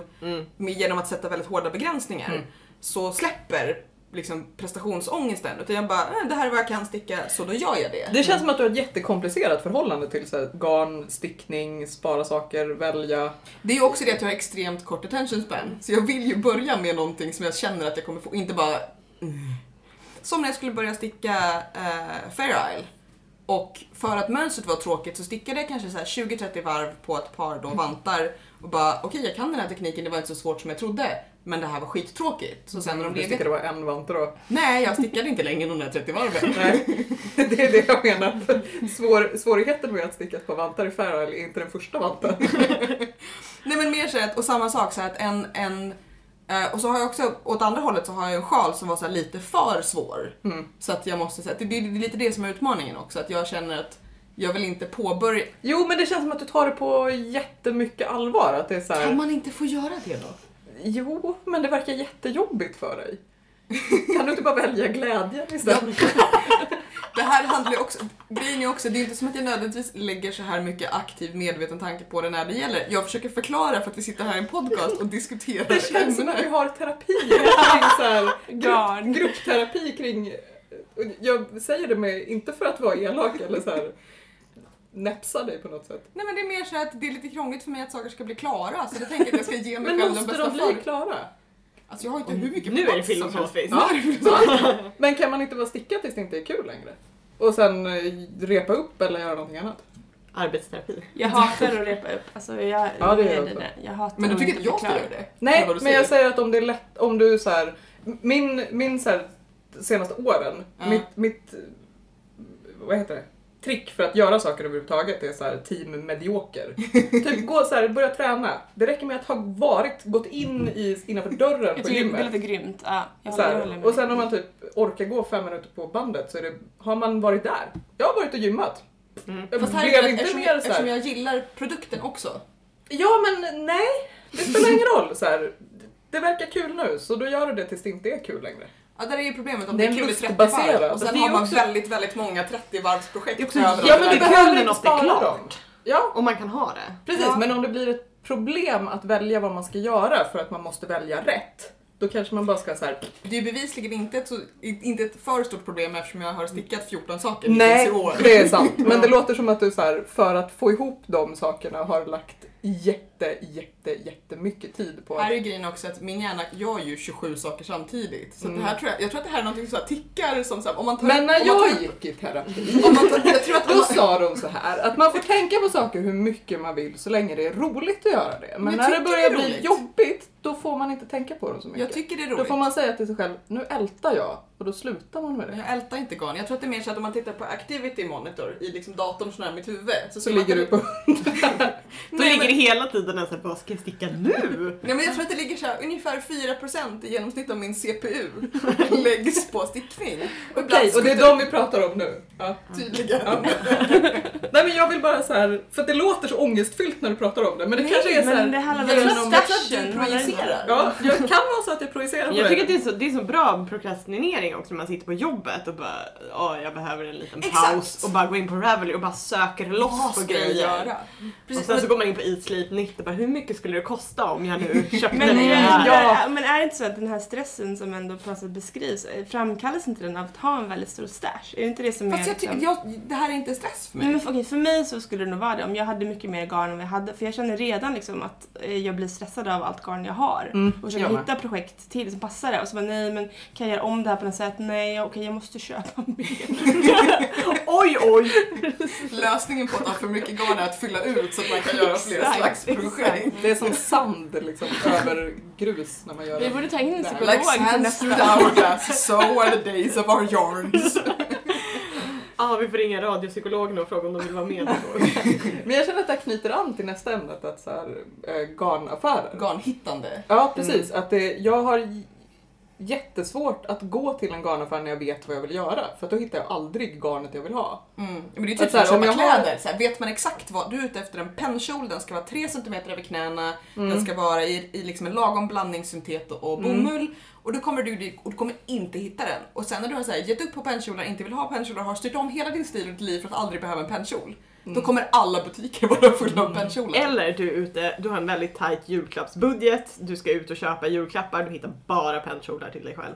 med, genom att sätta väldigt hårda begränsningar så släpper liksom prestationsångesten utan jag bara eh, det här är vad jag kan sticka så då gör jag det.
Det känns som att du har ett jättekomplicerat förhållande till så här, garn, stickning, spara saker, välja.
Det är ju också det att jag har extremt kort attention span så jag vill ju börja med någonting som jag känner att jag kommer få, inte bara Som när jag skulle börja sticka eh, Fair Isle. Och för att mönstret var tråkigt så stickade jag kanske så här 20-30 varv på ett par då vantar och bara okej jag kan den här tekniken, det var inte så svårt som jag trodde. Men det här var skittråkigt. Så sen när de
Du
blev...
stickade bara en vant då.
Nej, jag stickade inte längre än de där 30 varven.
Nej, det är det jag menar. Svår, svårigheten med att sticka ett par vantar i Fair Isle är inte den första vanten.
Nej men mer så att, och samma sak så här att en, en eh, och så har jag också, åt andra hållet så har jag en sjal som var så här lite för svår.
Mm.
Så att jag måste säga, det, det är lite det som är utmaningen också, att jag känner att jag vill inte påbörja,
Jo, men det känns som att du tar det på jättemycket allvar. Att det är så här,
kan man inte få göra det då?
Jo, men det verkar jättejobbigt för dig. Kan du inte bara välja glädje istället?
Det här handlar ju också, grejen är också, det är inte som att jag nödvändigtvis lägger så här mycket aktiv medveten tanke på det när det gäller. Jag försöker förklara för att vi sitter här i en podcast och diskuterar
Det känns som
ämnen.
att vi har terapi kring så här,
Garn.
grupp, gruppterapi kring Och Jag säger det med, inte för att vara elak eller så här näpsa dig på något sätt.
Nej men det är mer så att det är lite krångligt för mig att saker ska bli klara så jag tänker att jag ska ge mig
Men
själv den
måste
bästa
de bli
för.
klara? Mm.
Alltså jag har inte hur mycket
Nu är det
plats som helst.
filosofiskt.
Ja, det är filosofiskt.
Men kan man inte bara sticka tills det inte är kul längre? Och sen eh, repa upp eller göra någonting annat?
Arbetsterapi.
Jag hatar att repa upp. Alltså jag,
Ja, det gör
nej,
jag
nej,
också.
nej. jag hatar
Men du
att
tycker inte
bli
jag ska
klar.
göra det? Eller
Nej,
vad du
men jag säger att om det är lätt, om du så här, min, min så här, senaste åren,
Ja.
mitt, mitt, eh, vad heter det? Trick för att göra saker överhuvudtaget är så här team medioker. typ gå så här, börja träna. Det räcker med att ha varit, gått in i, innanför dörren
Jag
på
tycker det är
gymmet.
lite grymt. Ja, jag
Så
håller, jag håller
här,
med.
och sen om man typ orkar gå fem minuter på bandet så är det, har man varit där. Jag har varit och gymmat.
Mm.
Jag
Fast här
blev
är
inte
eftersom,
mer så här.
eftersom jag gillar produkten också.
Ja men nej, det spelar ingen roll. Så här, det verkar kul nu så då gör du det tills det inte är kul lälängre.
Ja, där är ju problemet om
Det
det
är
är kul i 30
lustbaserat.
varv och
Det
sen
är
har man
också-
väldigt, väldigt många 30-varvsprojekt
Det är också
överallt.
Ja, men det
Där.
är kul när något är klart.
Ja,
Om man kan ha det.
precis.
Ja.
Men om det blir ett problem att välja vad man ska göra för att man måste välja rätt. Då kanske man bara ska så här.
Det är ju bevisligen inte ett, så, inte ett för stort problem eftersom jag har stickat 14 saker
Nej,
hittills i år.
det är sant. Men det låter som att du så här, för att få ihop de sakerna har lagt jätte, jätte, jättemycket tid på
Här
att...
är grejen också att min hjärna gör ju 27 saker samtidigt. Så det här tror jag, jag tror att det här är något som tickar som så här, om man tar
Mm. Men
om
när
man tar
jag gick i terapi
Om man tar, jag tror att om
Då
man,
sa de så här att man får tänka på saker hur mycket man vill så länge det är roligt att göra det. Men,
Men
när det
tycker
börjar
det är
bli
roligt?
jobbigt, då får man inte tänka på dem så mycket.
jag tycker det är
då
roligt.
får man säga till sig själv, nu ältar jag och då slutar man med
Men
det.
jag ältar inte garn. Jag tror att det är mer så att om man tittar på activity monitor i liksom datorn så nära mitt huvud. Så,
Så
skulle man
ligger du
kunna-
på...
Då
Nej,
ligger
men-
det hela tiden en sån här, vad ska jag sticka nu?
Nej men jag tror att det ligger så här, ungefär 4% i genomsnitt av min CPU läggs på stickning. Och ibland
Okej, och det är
skuttar-
de vi pratar om nu. Ja.
tydligen.
Nej men jag vill bara så här, för att det låter så ångestfyllt när du pratar om det, men det
Nej,
kanske är så
men
här...
det handlar
Jag
väl
tror
om
att- jag tror att du
passion, handlar det inte?
projicerar.
Ja, jag kan vara så att jag projicerar på
Jag tycker att
dig.
det är, så, det är så bra prokrastinering också när man sitter på jobbet och bara, åh jag behöver en liten
Exakt.
paus och bara går in på Ravelry och bara söker loss på grejer.
Precis,
och sen så
men-
går man in på Eat Sleep Knit och bara, hur mycket skulle det kosta om jag nu köpte
Men,
det
men,
här?
Ja.
men är det inte så att den här stressen som ändå på något sätt beskrivs, eh, framkallas inte den av att ha en väldigt stor stash? Är det inte det som är...
Fast jag tycker,
liksom-
jag, det här är inte stress för
Nej,
mig.
men för, okej, för mig så skulle det nog vara det om jag hade mycket mer garn än vad jag hade. För jag känner redan liksom att eh, jag blir stressad av allt garn jag har.
Mm,
Och
jag
försöker
med.
hitta projekt till som passar det. Och så bara nej men kan jag göra om det här på något sätt? Nej okej jag måste köpa mer.
Oj oj!
Lösningen på att ha för mycket garn är att fylla ut så att man kan göra fler
Exakt,
slags projekt.
Det är som sand liksom, över grus när man gör
Vi
det.
borde ta in en
Like
psykolog.
Like
till
sands
nästa.
through the hourglass, so are the days of our yarns.
Ah, vi får ringa radiopsykologen och fråga om de vill vara med.
Men jag känner att det här knyter an till nästa ämnet, att så här, eh, garnaffärer.
Garnhittande.
Mm.
Ja, precis. Att det, jag har j- jättesvårt att gå till en garnaffär när jag vet vad jag vill göra, för att då hittar jag aldrig garnet jag vill ha.
Mm. Men det är ju
Att
typ
så
som
här,
att köpa
om jag har-
kläder. Så här, vet man exakt vad du är ute efter? En pennkjol, den ska vara 3 cm över knäna,
Mm.
den ska vara i, i liksom en lagom blandning syntet och och bomull. Och då kommer du dit och du kommer inte hitta den. Och sen när du har så här, gett upp på pennkjolar, inte vill ha pennkjolar, har styrt om hela din stil och ditt liv för att aldrig behöva en pennkjol.
Mm.
Då kommer alla butiker vara fulla av pennkjolar.
Eller du är ute, du har en väldigt tight julklappsbudget, du ska ut och köpa julklappar, du hittar bara pennkjolar till dig själv.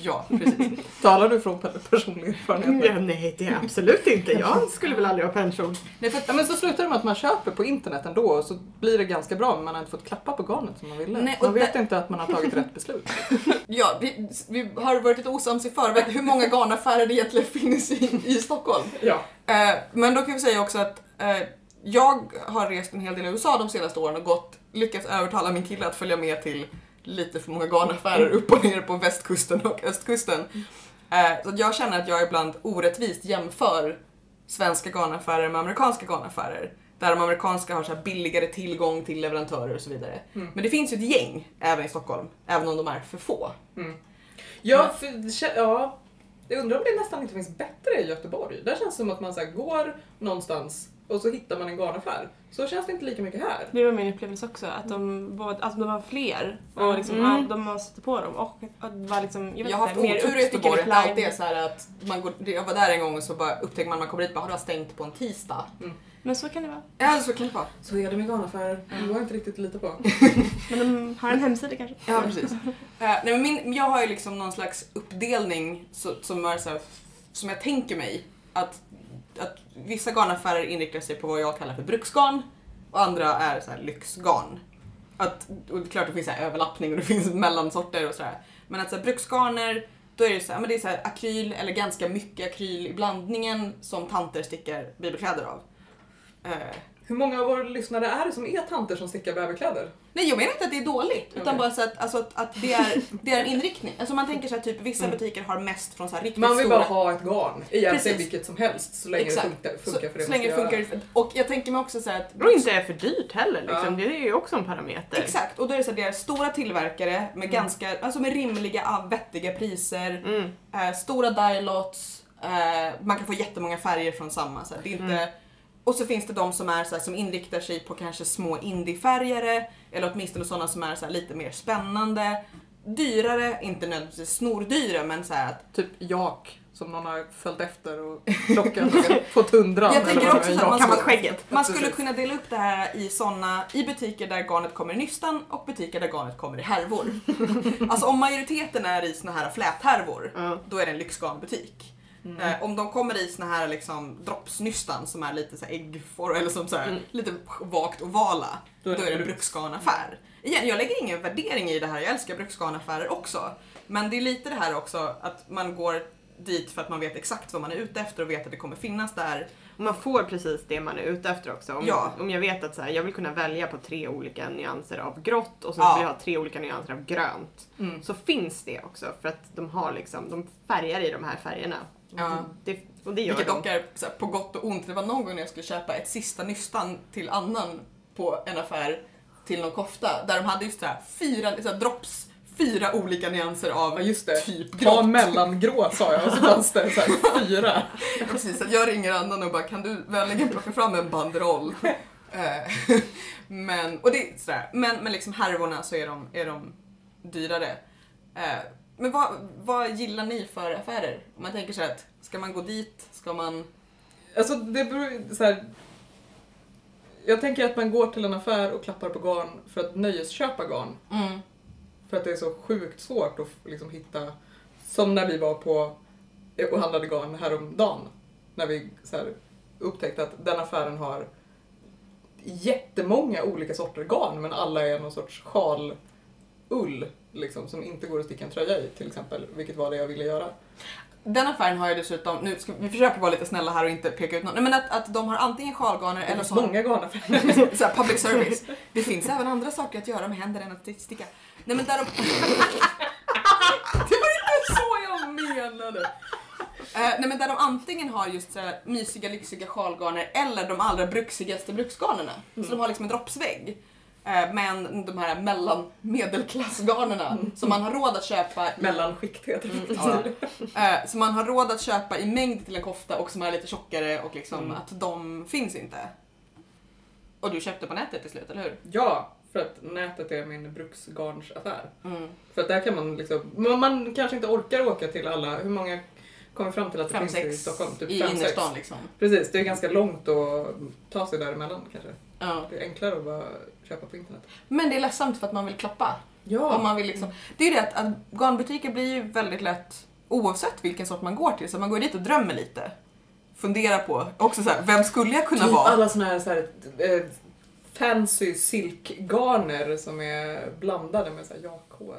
ja, precis.
Talar du från per- personlig erfarenhet?
Mm.
Ja, nej, det är absolut inte. Jag skulle väl aldrig ha pennkjol.
Nej, för att,
Ja, men så slutar det med att man köper på internet ändå och så blir det ganska bra men man har inte fått klappa på garnet som man ville.
Nej, och
man vet
det-
inte att man har tagit rätt beslut.
ja, vi, vi har varit lite osams i förväg hur många garnaffärer det egentligen finns i, i Stockholm.
Ja.
Eh, men då kan vi säga också att eh, jag har rest en hel del i USA de senaste åren och gått, lyckats övertala min kille att följa med till lite för många garnaffärer upp och ner på västkusten och östkusten. Eh, så att jag känner att jag ibland orättvist jämför svenska garnaffärer med amerikanska garnaffärer. Där de amerikanska har så här billigare tillgång till leverantörer och så vidare. Men det finns ju ett gäng även i Stockholm, även om de är för få.
Ja, för, kä- ja, jag undrar om det nästan inte finns bättre i Göteborg. Där känns det som att man så här går någonstans och så hittar man en garnaffär. Så känns det inte lika mycket här.
Det var min upplevelse också, att de, både, alltså de var fler och liksom,
Mm.
ja, de har stött på dem och att det var liksom, jag, vet
Jag har haft
inte,
otur i
uppstyckade
Göteborg.
plagg.
Allt är så här att man går, jag var där en gång och så bara upptäckte man när man kommer dit bara, har det var stängt på en tisdag.
Men så kan det vara.
Ja, så kan det vara.
Så är det med garnaffärer. Det går inte riktigt att lita på.
Men de har en hemsida kanske.
Ja, precis. Eh, nej, men min, jag har ju liksom någon slags uppdelning så, som, är så här, som jag tänker mig. Att, att vissa garnaffärer inriktar sig på vad jag kallar för bruksgarn och andra är så här lyxgarn. Att, och det är klart det finns så här överlappning och det finns mellansorter och sådär. Men att så här, bruksgarner, då är det så här, men det är så här akryl eller ganska mycket akryl i blandningen som tanter stickar bibelkläder av. Eh,
Hur många av våra lyssnare är det som är tanter som stickar bäverkläder?
Nej jag menar inte att det är dåligt utan
Okej.
bara så att, alltså, att, att det, är, det är en inriktning. Alltså man tänker så här, typ vissa butiker har mest från så här riktigt
Mm. Man vill
stora.
bara ha ett garn. Egentligen
Precis.
vilket som helst så länge
Exakt.
det funkar, funkar för det
så, så länge det
man ska
funkar.
göra.
det- Och jag tänker mig också så här att
Och inte är för dyrt heller liksom. Det är ju också en parameter.
Exakt, och då är det så här, det är stora tillverkare med
Mm.
ganska, alltså med rimliga, ah, vettiga priser,
Mm.
eh, stora dialots, eh, man kan få jättemånga färger från samma. Så här, det är inte, Och så finns det de som, är, så här, som inriktar sig på kanske små indiefärgare, eller åtminstone sådana som är så här, lite mer spännande, dyrare, inte nödvändigtvis snordyra men så här att
Typ jak som någon har följt efter och plockat på tundran.
Jag tänker
eller vad
också
det är,
så att man
jak.
ska-
Kammarskägget.
Man skulle
Precis.
kunna dela upp det här i såna, i butiker där garnet kommer i nystan och butiker där garnet kommer i härvor. alltså om majoriteten är i såna här fläthärvor,
Ja.
då är det en lyxgarnbutik. Eh, om de kommer i såna här liksom droppsnystan som är lite så här äggfor eller som så här, lite vagt ovala, Mm. då är det en bruksgarnaffär. Igen, jag lägger ingen värdering i det här, jag älskar bruksgarnaffärer också. Men det är lite det här också att man går dit för att man vet exakt vad man är ute efter och vet att det kommer finnas där.
Och Man får precis det man är ute efter också. Om,
Ja.
om jag vet att så här, jag vill kunna välja på tre olika nyanser av grått och sen
Ja.
vill jag ha tre olika nyanser av grönt.
Mm.
Så finns det också för att de har liksom, de färgar i de här färgerna.
Ja.
Det, och det gör
Vilket
de.
dock är så här, på gott och ont. Det var någon gång när jag skulle köpa ett sista nystan till annan på en affär till någon kofta där de hade just så här, fyra så här, drops, fyra olika nyanser av
Ja just det.
typ
Ta
grått.
mellangrå sa jag och så fanns det så här fyra.
Precis, att jag ringer annan och bara kan du vänligen plocka fram en banderoll? Eh, men, och det, är sådär. men, men liksom härvorna så är de, är de dyrare. Eh, Men vad, vad gillar ni för affärer? Om man tänker så här att ska man gå dit? Ska man...
Alltså det beror ju- så här. Jag tänker att man går till en affär och klappar på garn för att nöjesköpa garn. För att det är så sjukt svårt att liksom hitta. Som när vi var på och handlade garn häromdagen. När vi så här, upptäckte att den affären har jättemånga olika sorter garn men alla är någon sorts sjalull liksom, som inte går att sticka en tröja i till exempel. Vilket var det jag ville göra.
Den affären har ju dessutom, nu ska vi försöker vara lite snälla här och inte peka ut någon, Nej, men att, att de har antingen sjalgarner
Det
eller
finns
så har
många garnaffärer.
så här public service. Det finns även andra saker att göra med händer än att sticka. Nej men där de... Det var inte så jag menade! Eh, nej men där de antingen har just så här mysiga lyxiga sjalgarner eller de allra bruksigaste bruksgarnerna.
Mm.
Så de har liksom en droppsvägg. Eh, men de här mellan medelklassgarnerna
Mm.
som man har råd att köpa i
Mellanskikt heter det.
Ja. Mm, Eh, Så man har råd att köpa i mängd till en kofta och som är lite tjockare och liksom
Mm.
att de finns inte. Och du köpte på nätet till slut, eller hur?
Ja, för att nätet är min bruksgarnsaffär. För att där kan man liksom, man, man kanske inte orkar åka till alla, hur många kommer fram till att det
Fem,
finns i
sex
Stockholm? Typ
i
fem, sex.
innerstan liksom.
Precis, det är ganska långt att ta sig däremellan kanske.
Ja.
Det är enklare att bara köpa på internet.
Men det är ledsamt för att man vill klappa.
Ja, Mm.
Om man vill liksom. Det är ju det att, att garnbutiker blir ju väldigt lätt, oavsett vilken sort man går till, så man går dit och drömmer lite. Funderar på, också så här, vem skulle jag kunna
typ
vara?
alla såna här, så här eh, fancy silkgarner som är blandade med så här jakhår.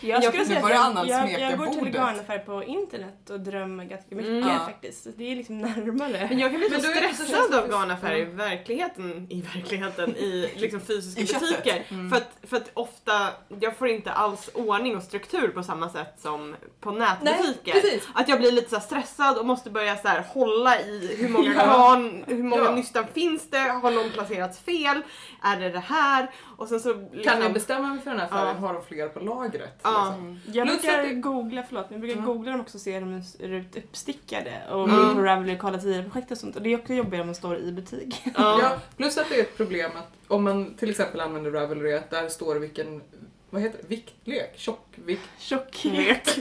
Jag
Ja,
skulle
nu
säga
börjar
att
Anna
jag, jag,
smeka
jag går till
bordet.
garnaffär på internet och drömmer ganska mycket
Mm. Ja.
faktiskt. Så Det är liksom närmare.
Men jag kan bli så
Men då är det så
stressad av garnaffärer i verkligheten, i verkligheten, i liksom fysiska
I köttet. Mm.
butiker. För, att, för att ofta, jag får inte alls ordning och struktur på samma sätt som på nätbutiker.
precis.
att jag blir lite så här stressad och måste börja så här hålla i hur många
Ja.
garn, hur många
Ja.
nystan finns det, har någon placerats fel, är det det här? Och sen så
Kan
liksom,
jag bestämma mig för den här affären?
Ja.
Har de fler på lagret?
Ja.
liksom?
Jag
Plus
brukar
att det-
googla, förlåt, men jag brukar
Ja.
googla dem också och se om de ser ut uppstickade och
Mm.
gå in på Ravelry och kolla tidigare-projekt och sånt. Och det är också jobbigare om man står i butik.
ja.
Ja, plus att det är ett problem att om man till exempel använder Ravelry att där står vilken vad heter det? Viktlek? Tjockvikt?
Tjocklek.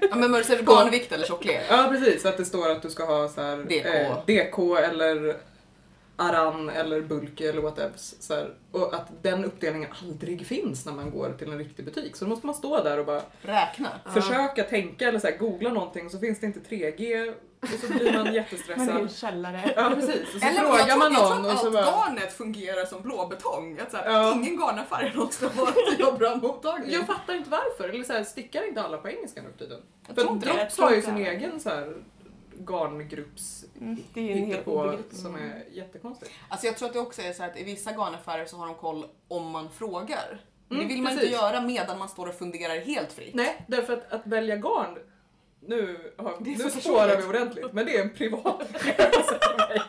Ja, men är det garnvikt eller tjocklek?
Ja precis, att det står att du ska ha så här,
DK.
DK eh, eller aran eller bulky eller whatever. Så här, och att den uppdelningen aldrig finns när man går till en riktig butik. Så då måste man stå där och bara
Räkna.
Ja.
försöka tänka eller så här, googla någonting så finns det inte 3G och så blir man
Man är i en
jättestressad.
källare.
Ja precis, och så
Eller jag
frågar
tror-
man
jag tror
någon och
att
så
allt
bara...
garnet fungerar som blåbetong. Att så här,
Ja.
Ingen garnarfärg måste vara att jag har bra mottagning.
Jag fattar inte varför, eller så här, stickar inte alla på engelska nu för tiden?
Jag
För
tror inte det.
Drops har ju sin egen så här garngrupps
Mm, det är ju en helt
på
obegriplig.
som är jättekonstigt.
Alltså jag tror att det också är så här att i vissa garnaffärer så har de koll om man frågar. Men
Mm,
det vill man
precis.
inte göra medan man står och funderar helt fritt.
Nej, därför att, att välja garn nu, har-
Det är
nu
så
försvårar vi
personligt.
ordentligt, men det är en privat upplevelse för mig.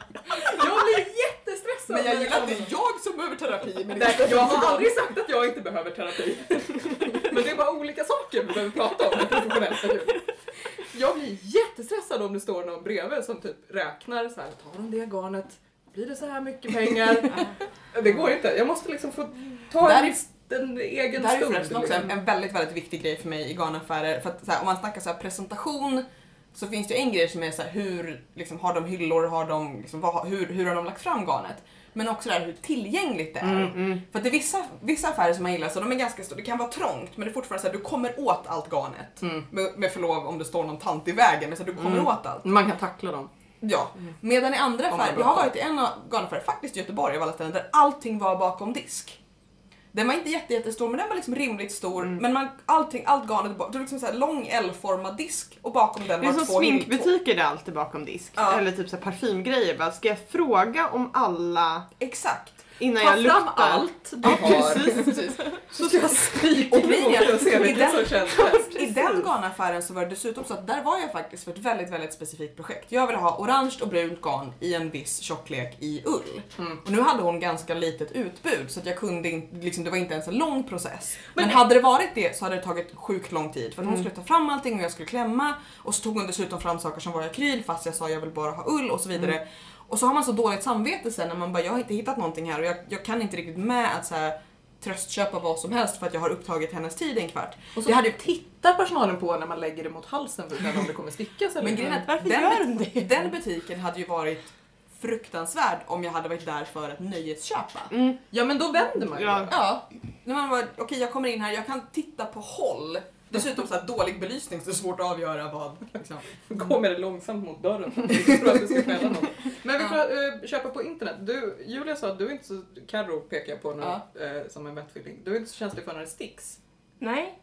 Jag blir jättestressad.
Men
när
jag
det
gillar att det är
kommer-
jag som behöver terapi. Men det
Nej,
är
jag har aldrig sagt att jag inte behöver terapi. Men det är bara olika saker vi behöver prata om i professionell terapi. Jag blir jättestressad om det står någon bredvid som typ räknar så här, tar de det garnet, blir det så här mycket pengar? det går inte, jag måste liksom få ta
Där
en, en egen
Det här är
stund.
förresten också
liksom.
en, en väldigt, väldigt viktig grej för mig i garnaffärer. För att så här, om man snackar så här, presentation så finns det ju en grej som är så här, hur liksom, har de hyllor, har de, liksom, vad, hur, hur har de lagt fram garnet? Men också det här hur tillgängligt det är.
Mm.
För att det är vissa, vissa affärer som man gillar, så de är ganska stora, det kan vara trångt men det är fortfarande så här, du kommer åt allt garnet.
mm.
Med, med förlov om det står någon tant i vägen, men så här, du kommer åt allt.
Man kan tackla dem.
Ja.
Mm.
Medan i andra
man
affärer,
bråttom.
jag har varit i en av- garnaffär, faktiskt i Göteborg av alla ställen, där allting var bakom disk. Den var inte jätte, jättestor men den var liksom rimligt stor.
Mm.
Men man, allting, allt garnet, ba- det var liksom så här lång L-formad disk och bakom den
Det är
var
som
två hyllor.
sminkbutiker där alltid bakom disk.
Ja.
Eller typ så här parfymgrejer. Bara, ska jag fråga om alla
Exakt.
innan
Ta
jag
fram
luktar?
allt du
ja,
har.
Precis, precis.
Så ska jag spika
Och grejen är
och se
att i
vilken som
den,
känns
i den garnaffären så var det dessutom så att där var jag faktiskt för ett väldigt, väldigt specifikt projekt. Jag ville ha orange och brunt garn i en viss tjocklek i ull. Och nu hade hon ganska litet utbud så att jag kunde inte, liksom, det var inte ens en lång process. Men, hade det varit det så hade det tagit sjukt lång tid för att hon skulle ta fram allting och jag skulle klämma och så tog hon dessutom fram saker som var i akryl fast jag sa jag vill bara ha ull och så vidare. Och så har man så dåligt samvete sen när man bara jag har inte hittat någonting här och jag, jag kan inte riktigt med att så här, tröstköpa vad som helst för att jag har upptagit hennes tid i en kvart.
Och så
Jag hade ju
tittar personalen på när man lägger det mot halsen för att veta om det kommer stickas eller
Men
inte.
grejen är att
Varför
den,
gör de det?
den butiken hade ju varit fruktansvärd om jag hade varit där för att nöjesköpa.
Ja men då vänder man ju.
Ja.
Ja, när man var okej jag kommer in här, jag kan titta på håll. Dessutom så här dålig belysning så det är svårt att avgöra vad. Liksom.
Kommer det långsamt mot dörren. Jag tror att det ska fälla någon. Men vi får eh, köpa på internet. Du, Julia sa att du är inte så, Carro pekar jag på nu eh, som en vettfylling. Du är inte så känslig för när det sticks.
Nej.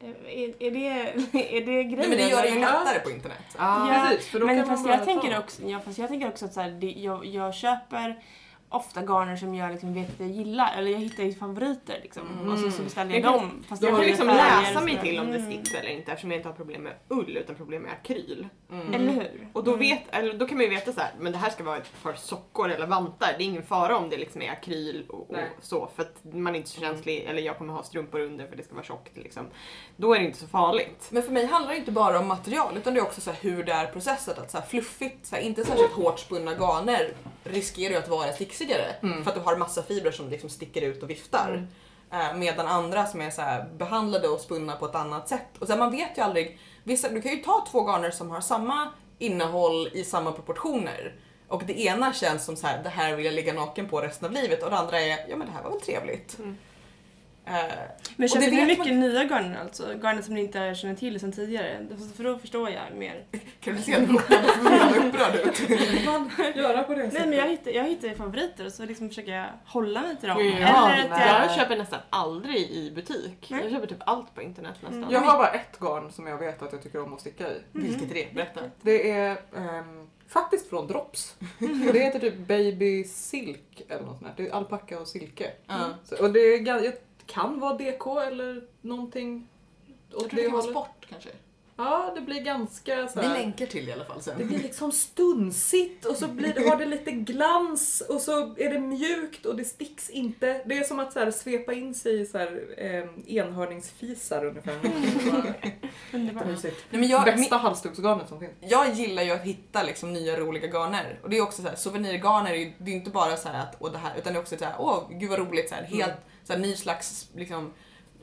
Är, är, det, är det grejen?
Nej, men det gör det ju
eller?
lättare på internet.
Ah.
Ja,
precis, för då kan
men
man
fast
bara
jag, tänker
ta.
också, ja, fast jag tänker också att så här, det, jag, jag köper ofta garner som jag liksom vet att jag gillar, eller jag hittar ju favoriter liksom. Och så, så beställer jag
Jag
dem. Fast
då
Jag
har
får
vet
liksom
att jag
läsa
gör
mig
så
till om det
Mm.
sticks eller inte eftersom jag inte har problem med ull utan problem med akryl.
Mm.
Mm. Eller hur?
Och då, vet, eller då kan man ju veta så här, men det här ska vara ett par sockor eller vantar. Det är ingen fara om det liksom är akryl och, och
Nej.
så för att man är inte så känslig eller jag kommer ha strumpor under för det ska vara tjockt liksom. Då är det inte så farligt.
Men för mig handlar det inte bara om material utan det är också så här hur det är processat. Att så här fluffigt, så här, inte särskilt hårt spunna garner riskerar ju att vara sticksigare för att du har massa fibrer som liksom sticker ut och viftar. Eh, medan andra som är så här behandlade och spunna på ett annat sätt. Och så här, man vet ju aldrig. Vissa, du kan ju ta två garner som har samma innehåll i samma proportioner. Och det ena känns som så här, det här vill jag ligga naken på resten av livet och det andra är, ja men det här var väl trevligt. Eh,
Men
Och
köper
det
ni
vet
mycket nya garner alltså? Garner som ni inte känner till sedan tidigare? Alltså, För då förstår jag mer.
kan du se hur upprörd- upprörd ut?
Kan man göra på det
Nej
sättet?
men jag hittar, jag hittar ju favoriter och så liksom försöker jag hålla mig till dem.
Ja,
Eller att jag...
eh, jag köper nästan aldrig i butik.
Nej.
Jag köper typ allt på internet nästan.
Jag har bara ett garn som jag vet att jag tycker om att sticka i.
Mm. Vilket är det? Berätta.
Det är ehm, faktiskt från Drops.
Mhm.
Det heter typ Baby Silk eller något sånt där. Det är alpacka och silke.
Ja.
Så, och det är, gan- det kan vara DK eller någonting. åt
Jag tror det kan vara
hållet.
sport kanske.
Ja, det blir ganska så
Vi
här.
länkar till i alla fall
Det
sen.
blir liksom stunsigt och så blir, har det lite glans och så är det mjukt och det sticks inte. Det är som att så här, svepa in sig i så här, eh, enhörningsfisar ungefär.
Underbart.
Mysigt.
Nej, men jag, min,
Bästa halsduksgarnet som finns.
jag gillar ju att hitta liksom nya roliga garner. Och det är också så här, souvenirgarner är ju det är inte bara så här att åh det här, utan det är också så här, åh gud vad roligt, så här, helt så här, ny slags liksom,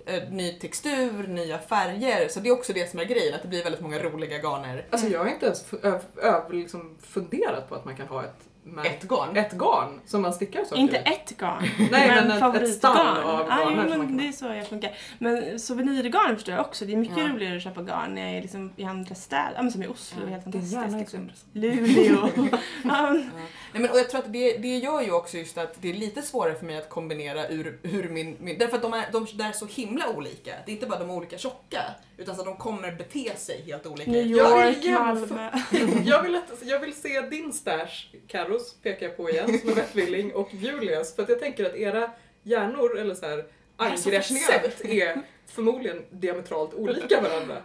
eh, ny textur, nya färger. Så det är också det som är grejen, att det blir väldigt många roliga garner.
Alltså jag har inte ens f- ö- ö- liksom funderat på att man kan ha ett märkt
Ett garn.
ett garn som man stickar saker
Inte
i.
ett garn,
Nej, men ett- ett
favoritgarn.
stall av
ah,
garner
jo,
som man
men
kan
Det är så jag funkar. Men souvenirgarn förstår jag också. Det är mycket
Ja.
roligare att köpa garn när jag är liksom i andra städer. Ja, men som i Oslo,
Ja,
helt
din hjärna är
fantastiskt.
så
Liksom.
intressant.
Luleå. Ja, men-
Nej, men, och jag tror att det, det gör ju också just att det är lite svårare för mig att kombinera ur, ur min, min... Därför att de är, de där är så himla olika. Det är inte bara de är olika tjocka, utan så att de kommer bete sig helt olika.
New
Jag vill
York,
jämföra-
Malmö.
Jag vill, att, jag vill se din stash, Carros pekar jag på igen, som är vettvilling, och Julias. För att jag tänker att era hjärnor, eller så här,
så
angreppssätt är förmodligen diametralt olika varandra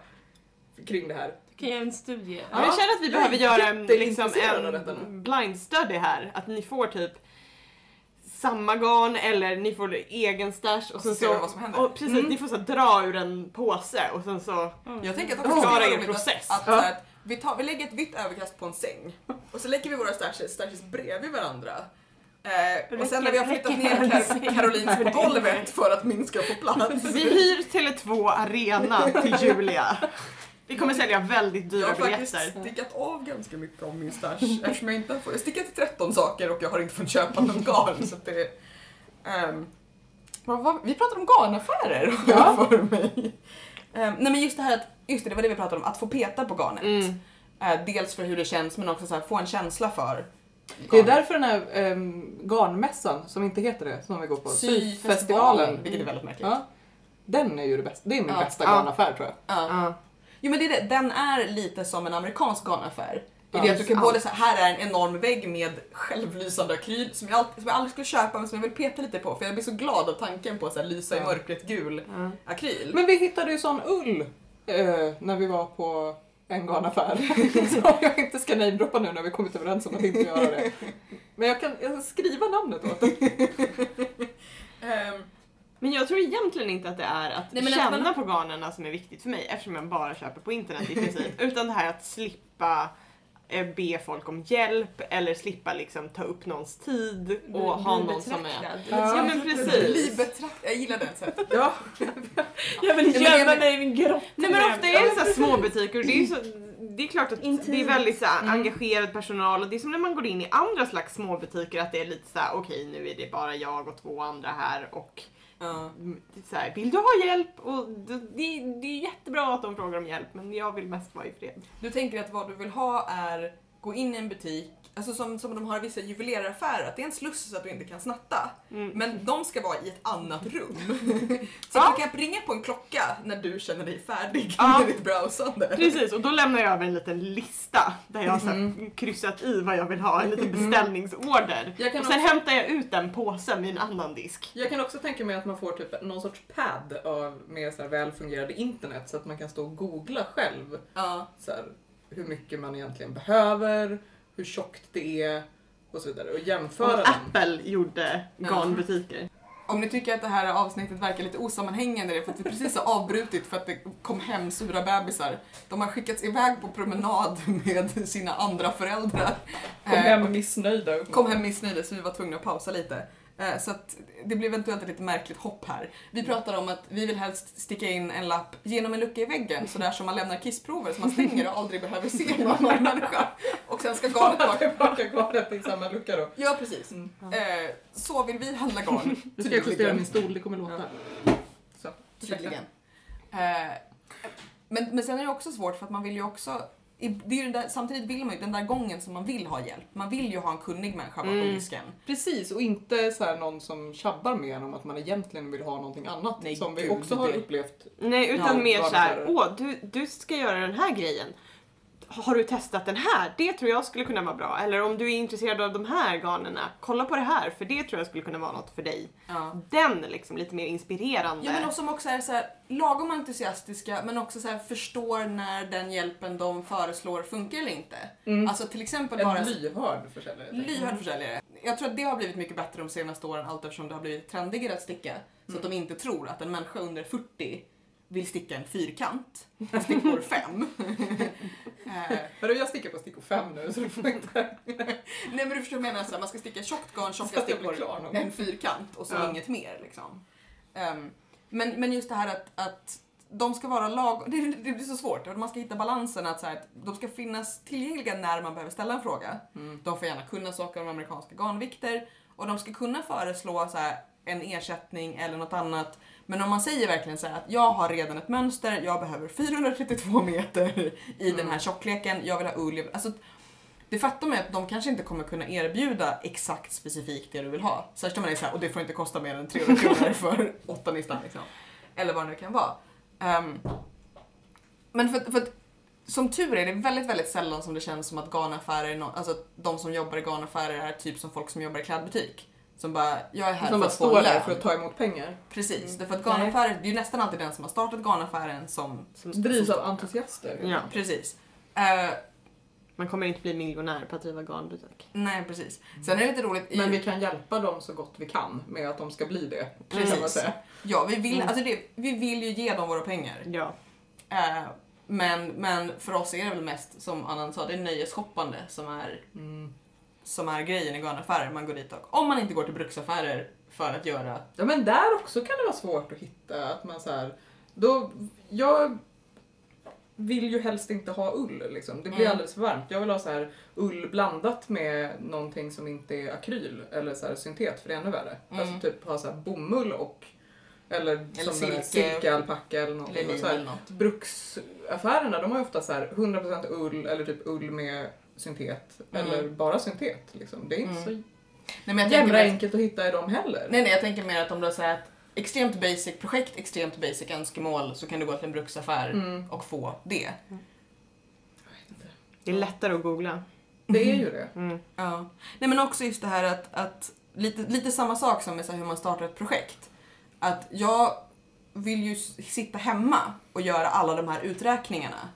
kring det här.
Kan jag göra en studie?
Ja.
Men jag känner att vi
jag
behöver
är
göra en, liksom,
jätteintresserad av detta nu.
en blind study här. Att ni får typ samma garn eller ni får egen stash och sen
ser vi vad
så...
som händer.
Och precis, ni får så här, dra ur en påse och sen så...
Jag tänker att det
Förklara
skulle vara
er
roligt
process.
Att, att,
Ja.
så här att vi, tar, vi lägger ett vitt överkast på en säng och så lägger vi våra stashes, stashes bredvid varandra. Eh, och sen när vi har flyttat
Räcker-
ner Kar- Karolins på golvet för att min ska få plats.
Vi hyr Tele2 Arena till Julia. Vi kommer sälja väldigt
Jag
dyra
har faktiskt
biljetter.
stickat av ganska mycket av min stash eftersom jag inte har fått, jag har stickat i 13 saker och jag har inte fått köpa någon garn så att det... ehm, vad, vad, vi pratar om garnaffärer
Ja.
för mig. Ehm, nej men just det här att, just det, det var det vi pratade om, att få peta på garnet.
Mm.
Eh, dels för hur det känns men också så här, få en känsla för
Det är
garnet.
därför den här ehm, garnmässan, som inte heter det, som vi går på,
Syfestivalen,
syfestivalen, Mm.
vilket är väldigt märkligt.
ja, den är ju det bästa. Det är min
Ja.
bästa
Ja.
garnaffär tror jag.
Ja.
Ja.
Jo men det är det. den är lite som en amerikansk garnaffär. I
Ja,
det att du kan
allt.
både så här, här är en enorm vägg med självlysande akryl som jag, alltid, som jag aldrig skulle köpa men som jag vill peta lite på för jag blir så glad av tanken på att så här, lysa i
Ja.
mörkret gul
Ja.
akryl.
Men vi hittade ju sån ull eh, när vi var på en garnaffär. Som jag inte ska namedroppa nu när vi kommit överens om att inte göra det. Men jag kan jag ska skriva namnet åt den.
Ehm,
Men jag tror egentligen inte att det är att
Nej, men att
känna
man-
på garnerna som är viktigt för mig eftersom jag bara köper på internet i princip. Utan det här att slippa eh, be folk om hjälp eller slippa liksom ta upp någons tid och ha någon som är...
Ja,
Ja men
bli
precis.
betrakt- jag gillar den. Så här.
Ja.
Jag vill
men jag
gömma
men-
mig i min grotta.
Nej men ofta är det så här små butiker och det är ju så det är klart att det är
Intimt.
väldigt så här, engagerad personal och det är som när man går in i andra slags småbutiker att det är lite så här: okej nu är det bara jag och två andra här och
Ja.
Mm, så här, vill du ha hjälp? Och det, det, det är jättebra att de frågar om hjälp men jag vill mest vara i fred.
Du tänker att vad du vill ha är gå in i en butik, alltså som, som de har i vissa juveleraffärer, att det är en sluss så att du inte kan snatta.
Mm.
Men de ska vara i ett annat rum. så att du kan ringa på en klocka när du känner dig färdig
Ja.
med ditt browsande.
Precis och då lämnar jag över en liten lista där jag har så här, kryssat i vad jag vill ha, en liten beställningsorder.
Jag kan
Och sen hämtar jag ut den påsen vid en annan disk.
Jag kan också tänka mig att man får typ någon sorts pad av med så här väl fungerande internet så att man kan stå och googla själv
Ja.
så här, hur mycket man egentligen behöver, hur tjockt det är och så vidare och jämföra
Och
dem.
Apple gjorde garnbutiker.
Om ni tycker att det här avsnittet verkar lite osammanhängande det är för att vi precis har avbrutit för att det kom hem sura bebisar. De har skickats iväg på promenad med sina andra föräldrar.
Kom
Eh,
hem missnöjda.
kom hem missnöjda så vi var tvungna att pausa lite. Eh, Så att det blev eventuellt ett lite märkligt hopp här. Vi pratar om att vi vill helst sticka in en lapp genom en lucka i väggen, sådär som man lämnar kissprover som man stänger och aldrig behöver se någon annan människa. Och sen ska garnet
Kolla
vara...
tillbaka garnet i samma lucka då.
Ja, precis. Eh, Så vill vi handla garn.
Nu ska jag justera min stol, det kommer låta. Så.
Tydligen. Eh, Men, men sen är det också svårt för att man vill ju också i- det är ju den där, samtidigt vill man ju den där gången som man vill ha hjälp. Man vill ju ha en kunnig människa bakom
Mm.
disken.
Precis, och inte så här någon som tjabbar med en om att man egentligen vill ha någonting annat
Nej,
som vi
gud,
också har
det-
upplevt.
Nej utan
Ja,
mer såhär,
garnaffärer.
åh du, du ska göra den här grejen. Har du testat den här? Det tror jag skulle kunna vara bra. Eller om du är intresserad av de här garnerna, kolla på det här för det tror jag skulle kunna vara något för dig.
Ja.
Den liksom lite mer inspirerande.
Ja men och som också är så här, lagom entusiastiska men också så här, förstår när den hjälpen de föreslår funkar eller inte.
Mm.
Alltså till exempel bara
En lyhörd försäljare. tänker jag.
lyhörd försäljare. Jag tror att det har blivit mycket bättre de senaste åren allt eftersom det har blivit trendigare att sticka. Så att de inte tror att en människa under 40 vill sticka en fyrkant. En stickor Eh, 5.
Hörru, jag sticker på stickor 5 nu så du får inte...
Nej men du förstår vad jag menar, så här, man ska sticka tjockt garn,
Så
tjocka
att jag blir
stickor,
klar någon gång.
en fyrkant och så
Ja.
inget mer. Liksom. Ehm, men, men just det här att, att de ska vara lag... Det, det blir så svårt. och Man ska hitta balansen att, så här, att de ska finnas tillgängliga när man behöver ställa en fråga.
Mm.
De får gärna kunna saker om amerikanska garnvikter och de ska kunna föreslå så här, en ersättning eller något annat. Men om man säger verkligen så här att jag har redan ett mönster, jag behöver 432 meter i den här tjockleken, jag vill ha ull. jag vill- Alltså, det fattar man ju att de kanske inte kommer kunna erbjuda exakt specifikt det du vill ha. Särskilt om man är så här, och det får inte kosta mer än 300 kronor för åtta nystan liksom. Eller vad det nu kan vara. Ehm, men för, att- för att som tur är det väldigt, väldigt sällan som det känns som att garnaffärer, är nå- alltså att de som jobbar i garnaffärer är typ som folk som jobbar i klädbutik. Som bara, jag är här
Som
för
bara
att få
står där
lön.
för att ta emot pengar.
Precis,
Mm.
därför att garnaffärer, det är ju nästan alltid den som har startat garnaffären som...
Drivs av entusiaster.
Ja,
Precis. Eh,
man kommer inte bli miljonär på att driva garnbutik.
nej, precis. Sen är det lite roligt, i,
Men vi kan hjälpa dem så gott vi kan med att de ska bli det.
Precis.
Kan man säga.
ja, vi, vill,
Mm.
alltså det, vi vill ju ge dem våra pengar.
Ja.
Eh, men, men för oss är det väl mest, som Annan sa, det är nöjesshoppande som är
Mm.
som är grejen i garnaffärer. Man går dit och om man inte går till bruksaffärer för att göra...
Ja men där också kan det vara svårt att hitta att man så här, då, jag vill ju helst inte ha ull liksom. Det blir
Mm.
alldeles för varmt. Jag vill ha så här ull blandat med någonting som inte är akryl eller så här syntet för det är ännu värre.
Mm.
Alltså typ ha så här bomull och eller, som den
silke.
här silke, alpacka eller någonting.
Eller
Och så
lin
här,
eller något.
bruksaffärerna de har ju ofta så här 100% ull eller typ ull med syntet
Mm.
eller bara syntet liksom. Det är inte
Mm.
så
Nej, men jag tänker
jävla
mer,
enkelt att hitta i dem heller.
nej, nej, jag tänker mer att om du har så här ett extremt basic projekt, extremt basic önskemål så kan du gå till en bruksaffär
Mm.
och få det.
Det är lättare att googla.
Det är ju det.
Mm.
Ja. Nej men också just det här att, att lite, lite samma sak som med så här hur man startar ett projekt. Att jag vill ju s- sitta hemma och göra alla de här uträkningarna.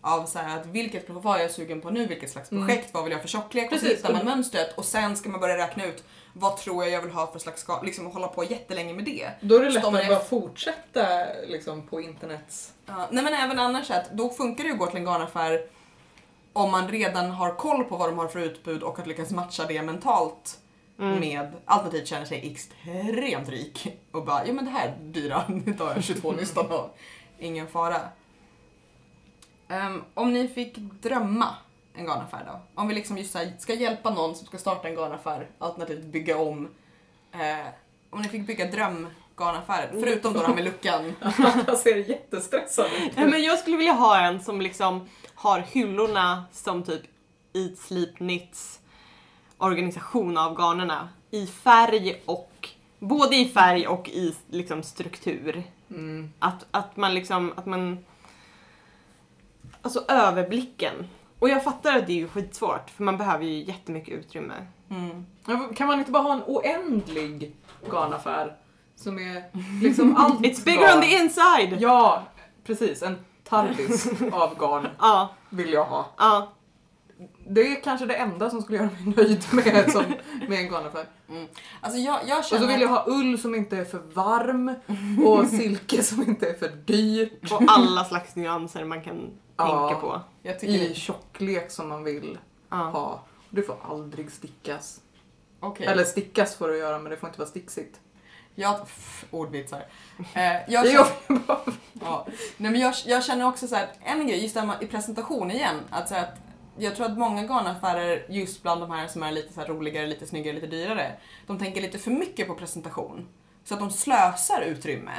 Av så här att vilket, vad är jag sugen på nu, vilket slags
Mm.
projekt, vad vill jag för tjocklek? Och så
Precis. Mm.
hittar man mönstret och sen ska man börja räkna ut vad tror jag jag vill ha för slags ska, liksom hålla på jättelänge med det.
Då är det
Så
lättare
om
att
jag-
bara fortsätta liksom, på internets...
Ja, nej men även annars att då funkar det ju att gå till en garnaffär om man redan har koll på vad de har för utbud och att lyckas matcha det mentalt
Mm.
med alternativt känner sig extremt rik och bara ja men det här dyra, nu tar jag 22 nystan av. Ingen fara. Ehm, om ni fick drömma en garnaffär då? Om vi liksom just så här, ska hjälpa någon som ska starta en garnaffär alternativt bygga om. Eh, om ni fick bygga drömgarnaffären, förutom då den med luckan.
Alla ser jättestressade ut.
Nej, men jag skulle vilja ha en som liksom har hyllorna som typ Eat Sleep Knits organisation av garnerna i färg och både i färg och i liksom struktur.
Mm.
Att, att man liksom, att man... Alltså överblicken. Och jag fattar att det är ju skitsvårt för man behöver ju jättemycket utrymme.
Mm.
Ja, Kan man inte bara ha en oändlig garnaffär? Som är liksom allt
It's bigger on the inside! Ja,
Ja, precis. En tardis av garn
ja.
vill jag ha. Det är kanske det enda som skulle göra mig nöjd med, som, med en garnaffär.
Alltså jag, jag
Och
känner...
så vill jag ha ull som inte är för varm och silke som inte är för dyrt.
Och alla slags nyanser man kan
Ja.
tänka på.
jag tycker
I
det.
tjocklek som man vill
Ja.
ha. Det får aldrig stickas.
Okej.
Eller stickas får du göra men det får inte vara sticksigt.
Jag... Pff, ordvitsar. Eh, jag,
Det är
känner,
ju bara-
ja. Nej, men jag, jag känner också så här, en grej, just det här med, i presentation igen, att, så här, att jag tror att många garnaffärer, just bland de här som är lite så här roligare, lite snyggare, lite dyrare, de tänker lite för mycket på presentation. Så att de slösar utrymme.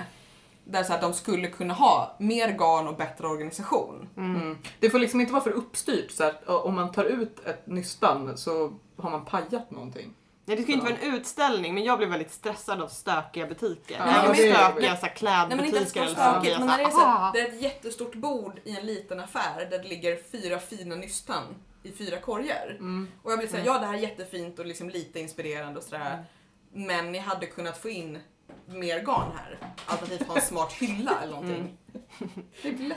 Där så här, de skulle kunna ha mer garn och bättre organisation.
Mm. Det får liksom inte vara för uppstyrt så att om man tar ut ett nystan så har man pajat någonting.
Nej, det ska ju inte vara en utställning men jag blev väldigt stressad av stökiga butiker.
Ja,
Även
det är
stökiga
jobbigt.
så här,
Nej men inte att
klädbutiker
det står stökigt,
eller så. blir jag
men
så
när det är,
här,
så här,
"Ah."
det är ett jättestort bord i en liten affär där det ligger fyra fina nystan i fyra korgar.
Mm.
Och jag blir såhär, ja det här är jättefint och liksom lite inspirerande och sådär.
Mm.
Men ni hade kunnat få in mer garn här. Alternativt ha en smart hylla eller någonting.
Mm.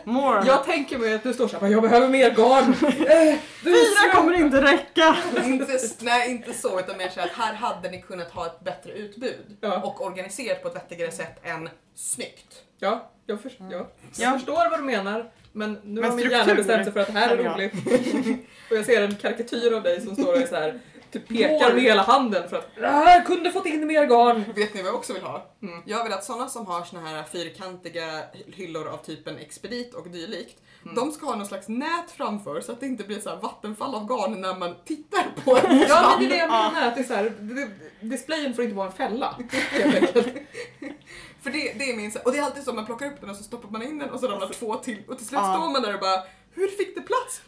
More.
Jag tänker mig att du står såhär, jag behöver mer garn. Eh, du är
Fyra
snäll.
kommer inte räcka!
inte, nej, inte så utan mer såhär att här hade ni kunnat ha ett bättre utbud.
Ja.
Och organiserat på ett vettigare sätt än snyggt.
Ja, jag, för, ja. jag
Ja.
förstår vad du menar. Men nu
Men
har min
struktur,
hjärna bestämt sig för att det här är
känner jag.
roligt. och jag ser en karikatyr av dig som står och är så här. Typ pekar med hela handen för att "Ah, jag kunde fått in mer garn.
Vet ni vad jag också vill ha?
Mm.
Jag vill att sådana som har såna här fyrkantiga hyllor av typen Expedit och dylikt, de ska ha någon slags nät framför så att det inte blir så här vattenfall av garn när man tittar på en
Ja
stam.
men det är det jag menar, att det är så här, det- displayen får inte vara en fälla. Helt enkelt.
För det, det är min, så- och det är alltid så man plockar upp den och så stoppar man in den och så ramlar två till och till slut
Ja.
står man där och bara hur fick det plats?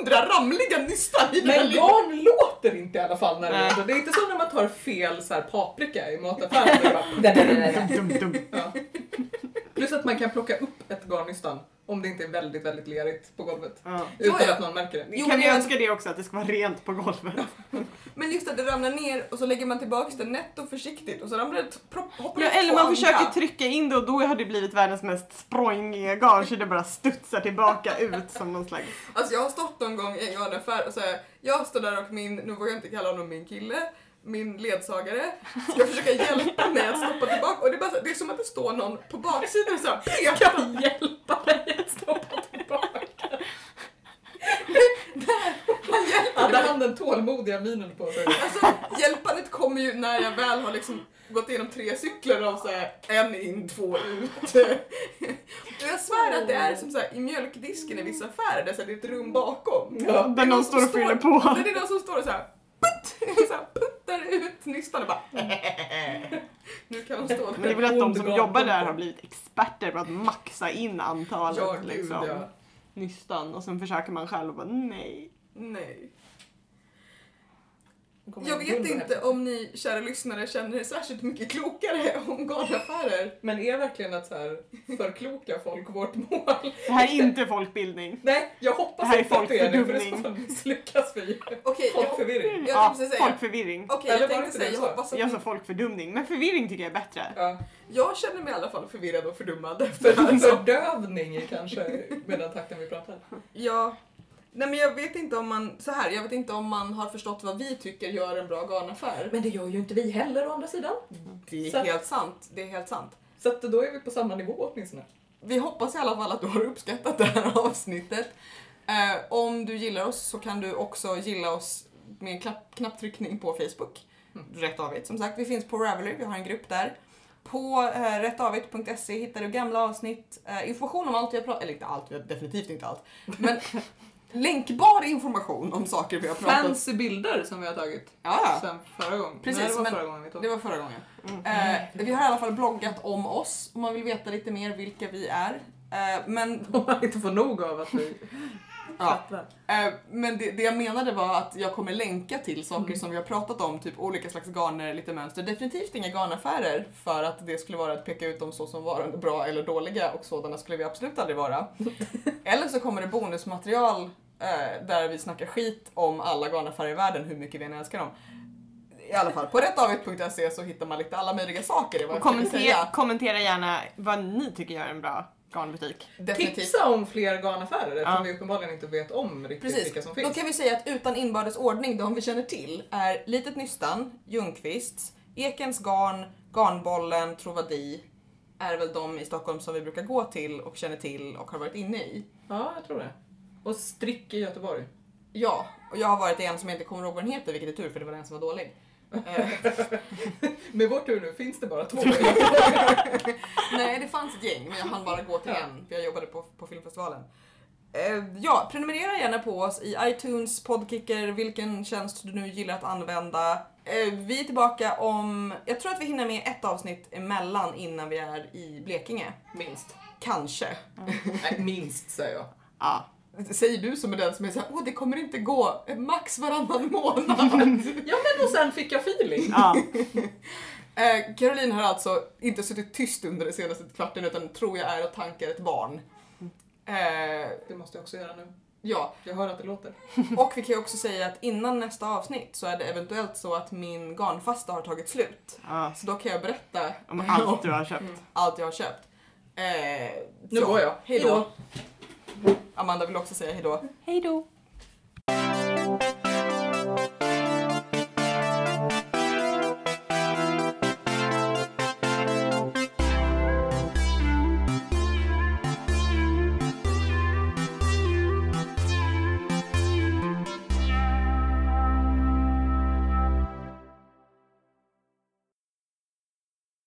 700 ramliga nystan i den här
Men
lilla-
garn låter inte i alla fall när det
Nej.
låter. Det är inte som när man tar fel så här, paprika i mataffären. och det bara- Nej, nej, nej, nej.
Dum, dum.
Ja. Plus att man kan plocka upp ett garnnystan om det inte är väldigt, väldigt lerigt på golvet.
Ja.
Utan
Ja, ja.
att någon märker det.
Jo,
kan
men
vi
jag-
önska det också, att det ska vara rent på golvet?
Men just att det ramlar ner och så lägger man tillbaks den nätt och försiktigt och så ramlar det ett propp, hoppar
Ja,
ut
eller
två
man
andra.
försöker trycka in det och då har det blivit världens mest språngiga garn så det bara studsar tillbaka ut som någon slags...
Alltså jag har stått någon gång i en garnaffär och så här, jag står där och min, nu vågar jag inte kalla honom min kille, min ledsagare, ska försöka hjälpa mig att stoppa tillbaka och det är, bara, så- det är som att det står någon på baksidan och så här, pekar.
Kan hjälpa dig att stoppa tillbaka.
Han hjälper
Hade
mig.
han den tålmodiga minen på sig?
Alltså hjälpandet kommer ju när jag väl har liksom gått igenom tre cykler av så här, en in, två ut. Och jag svär att det är som så här, i mjölkdisken i vissa affärer där så här, det är ett rum bakom.
Ja.
Det
Där
är
någon
som
står och fyller på.
Nej, Det är någon som står och så här, putt, så här puttar ut nystan och bara Nu kan hon stå
Men det är
där.
väl att de som jobbar där har blivit experter på att maxa in antalet
Ja, gud,
liksom,
ja.
nystan och sen försöker man själv och bara nej.
Nej. Jag vet inte om ni kära lyssnare känner er särskilt mycket klokare om garnaffärer.
Men är verkligen att så här förkloka folk vårt mål?
Det här är inte folkbildning.
Nej, jag
Det
hoppas
här är
inte att det är det för i så
folkfördubbling.
fall misslyckas vi.
Okej, jag,
Folkförvirring.
jag
Ja,
tänkte säga.
folkförvirring.
Okej,
Ah,
jag
Eller var det
tänkte
inte
säga,
det
jag
jag sa?
hoppas att
Jag sa
ni,
folkfördumning, men förvirring tycker jag är bättre.
Ja.
Jag känner mig i alla fall förvirrad och fördummad efter
För-
alltså,
Fördövning är kanske med den takten vi pratar.
Ja. Nej men jag vet inte om man, så här, jag vet inte om man har förstått vad vi tycker gör en bra garnaffär.
Men det gör ju inte vi heller å andra sidan.
Det är
Så-
helt sant, det är helt sant.
Så att då är vi på samma nivå åtminstone.
Vi hoppas i alla fall att du har uppskattat det här avsnittet. Eh, om du gillar oss så kan du också gilla oss med en klapp, knapptryckning på Facebook. Rätt avigt. Som sagt, vi finns på Ravelry, vi har en grupp där. På eh, rättavigt.se hittar du gamla avsnitt, eh, information om allt vi har pratat, eller inte allt, vi har definitivt inte allt. Men länkbar information om saker vi har pratat om.
Fancy bilder som vi har tagit
Ja,
sen förra gången.
Precis,
Nej, det var
men-
förra gången vi tog.
det var förra gången. Eh, vi har i alla fall bloggat om oss om man vill veta lite mer vilka vi är. Eh, men
Om man inte får nog av att vi
ja,
chattar.
Eh, Men det, det jag menade var att jag kommer länka till saker
Mm.
som vi har pratat om, typ olika slags garner, lite mönster. Definitivt inga garnaffärer för att det skulle vara att peka ut dem så som varande bra eller dåliga och sådana skulle vi absolut aldrig vara. eller så kommer det bonusmaterial eh, där vi snackar skit om alla garnaffärer i världen, hur mycket vi än älskar dem. I alla fall, på rättavigt.se E så hittar man lite alla möjliga saker. Det var
Och
vad jag ville
kommentera,
säga.
kommentera gärna vad ni tycker gör en bra garnbutik.
Definitivt.
Tipsa om fler garnaffärer eftersom
Ja.
vi uppenbarligen inte vet om riktigt vilka
Precis,
som
då
finns.
kan vi säga att utan inbördes ordning, de vi känner till är Litet Nystan, Ljungqvists, Ekens Garn, Garnbollen, Trovadi är väl de i Stockholm som vi brukar gå till och känner till och har varit inne i.
Ja, jag tror det. Och Strick i Göteborg.
Ja, och jag har varit i en som jag inte kommer ihåg vad den heter, vilket är tur för det var den som var dålig. Eh,
Med vår tur nu finns det bara två.
Nej, det fanns ett gäng men jag hann bara gå till en för jag jobbade på, på filmfestivalen. Eh, ja, prenumerera gärna på oss i iTunes, Podkicker, vilken tjänst du nu gillar att använda. Eh, vi är tillbaka om, jag tror att vi hinner med ett avsnitt emellan innan vi är i Blekinge.
Minst.
Kanske.
Nej, minst säger jag.
Ja.
Säger du som är den som är såhär, åh det kommer inte gå, eh, max varannan månad.
Ja men och sen fick jag feeling.
ja.
eh, Caroline har alltså inte suttit tyst under den senaste kvarten utan tror jag är och tankar ett barn. Eh,
Det måste jag också göra nu.
ja,
Jag hör att det låter.
Och vi kan ju också säga att innan nästa avsnitt så är det eventuellt så att min garnfasta har tagit slut.
ja.
Så då kan jag berätta
Om allt du har köpt.
allt jag har köpt. Eh,
Nu
så,
går jag.
Hejdå.
Hejdå.
Amanda vill också säga hejdå.
Hej då!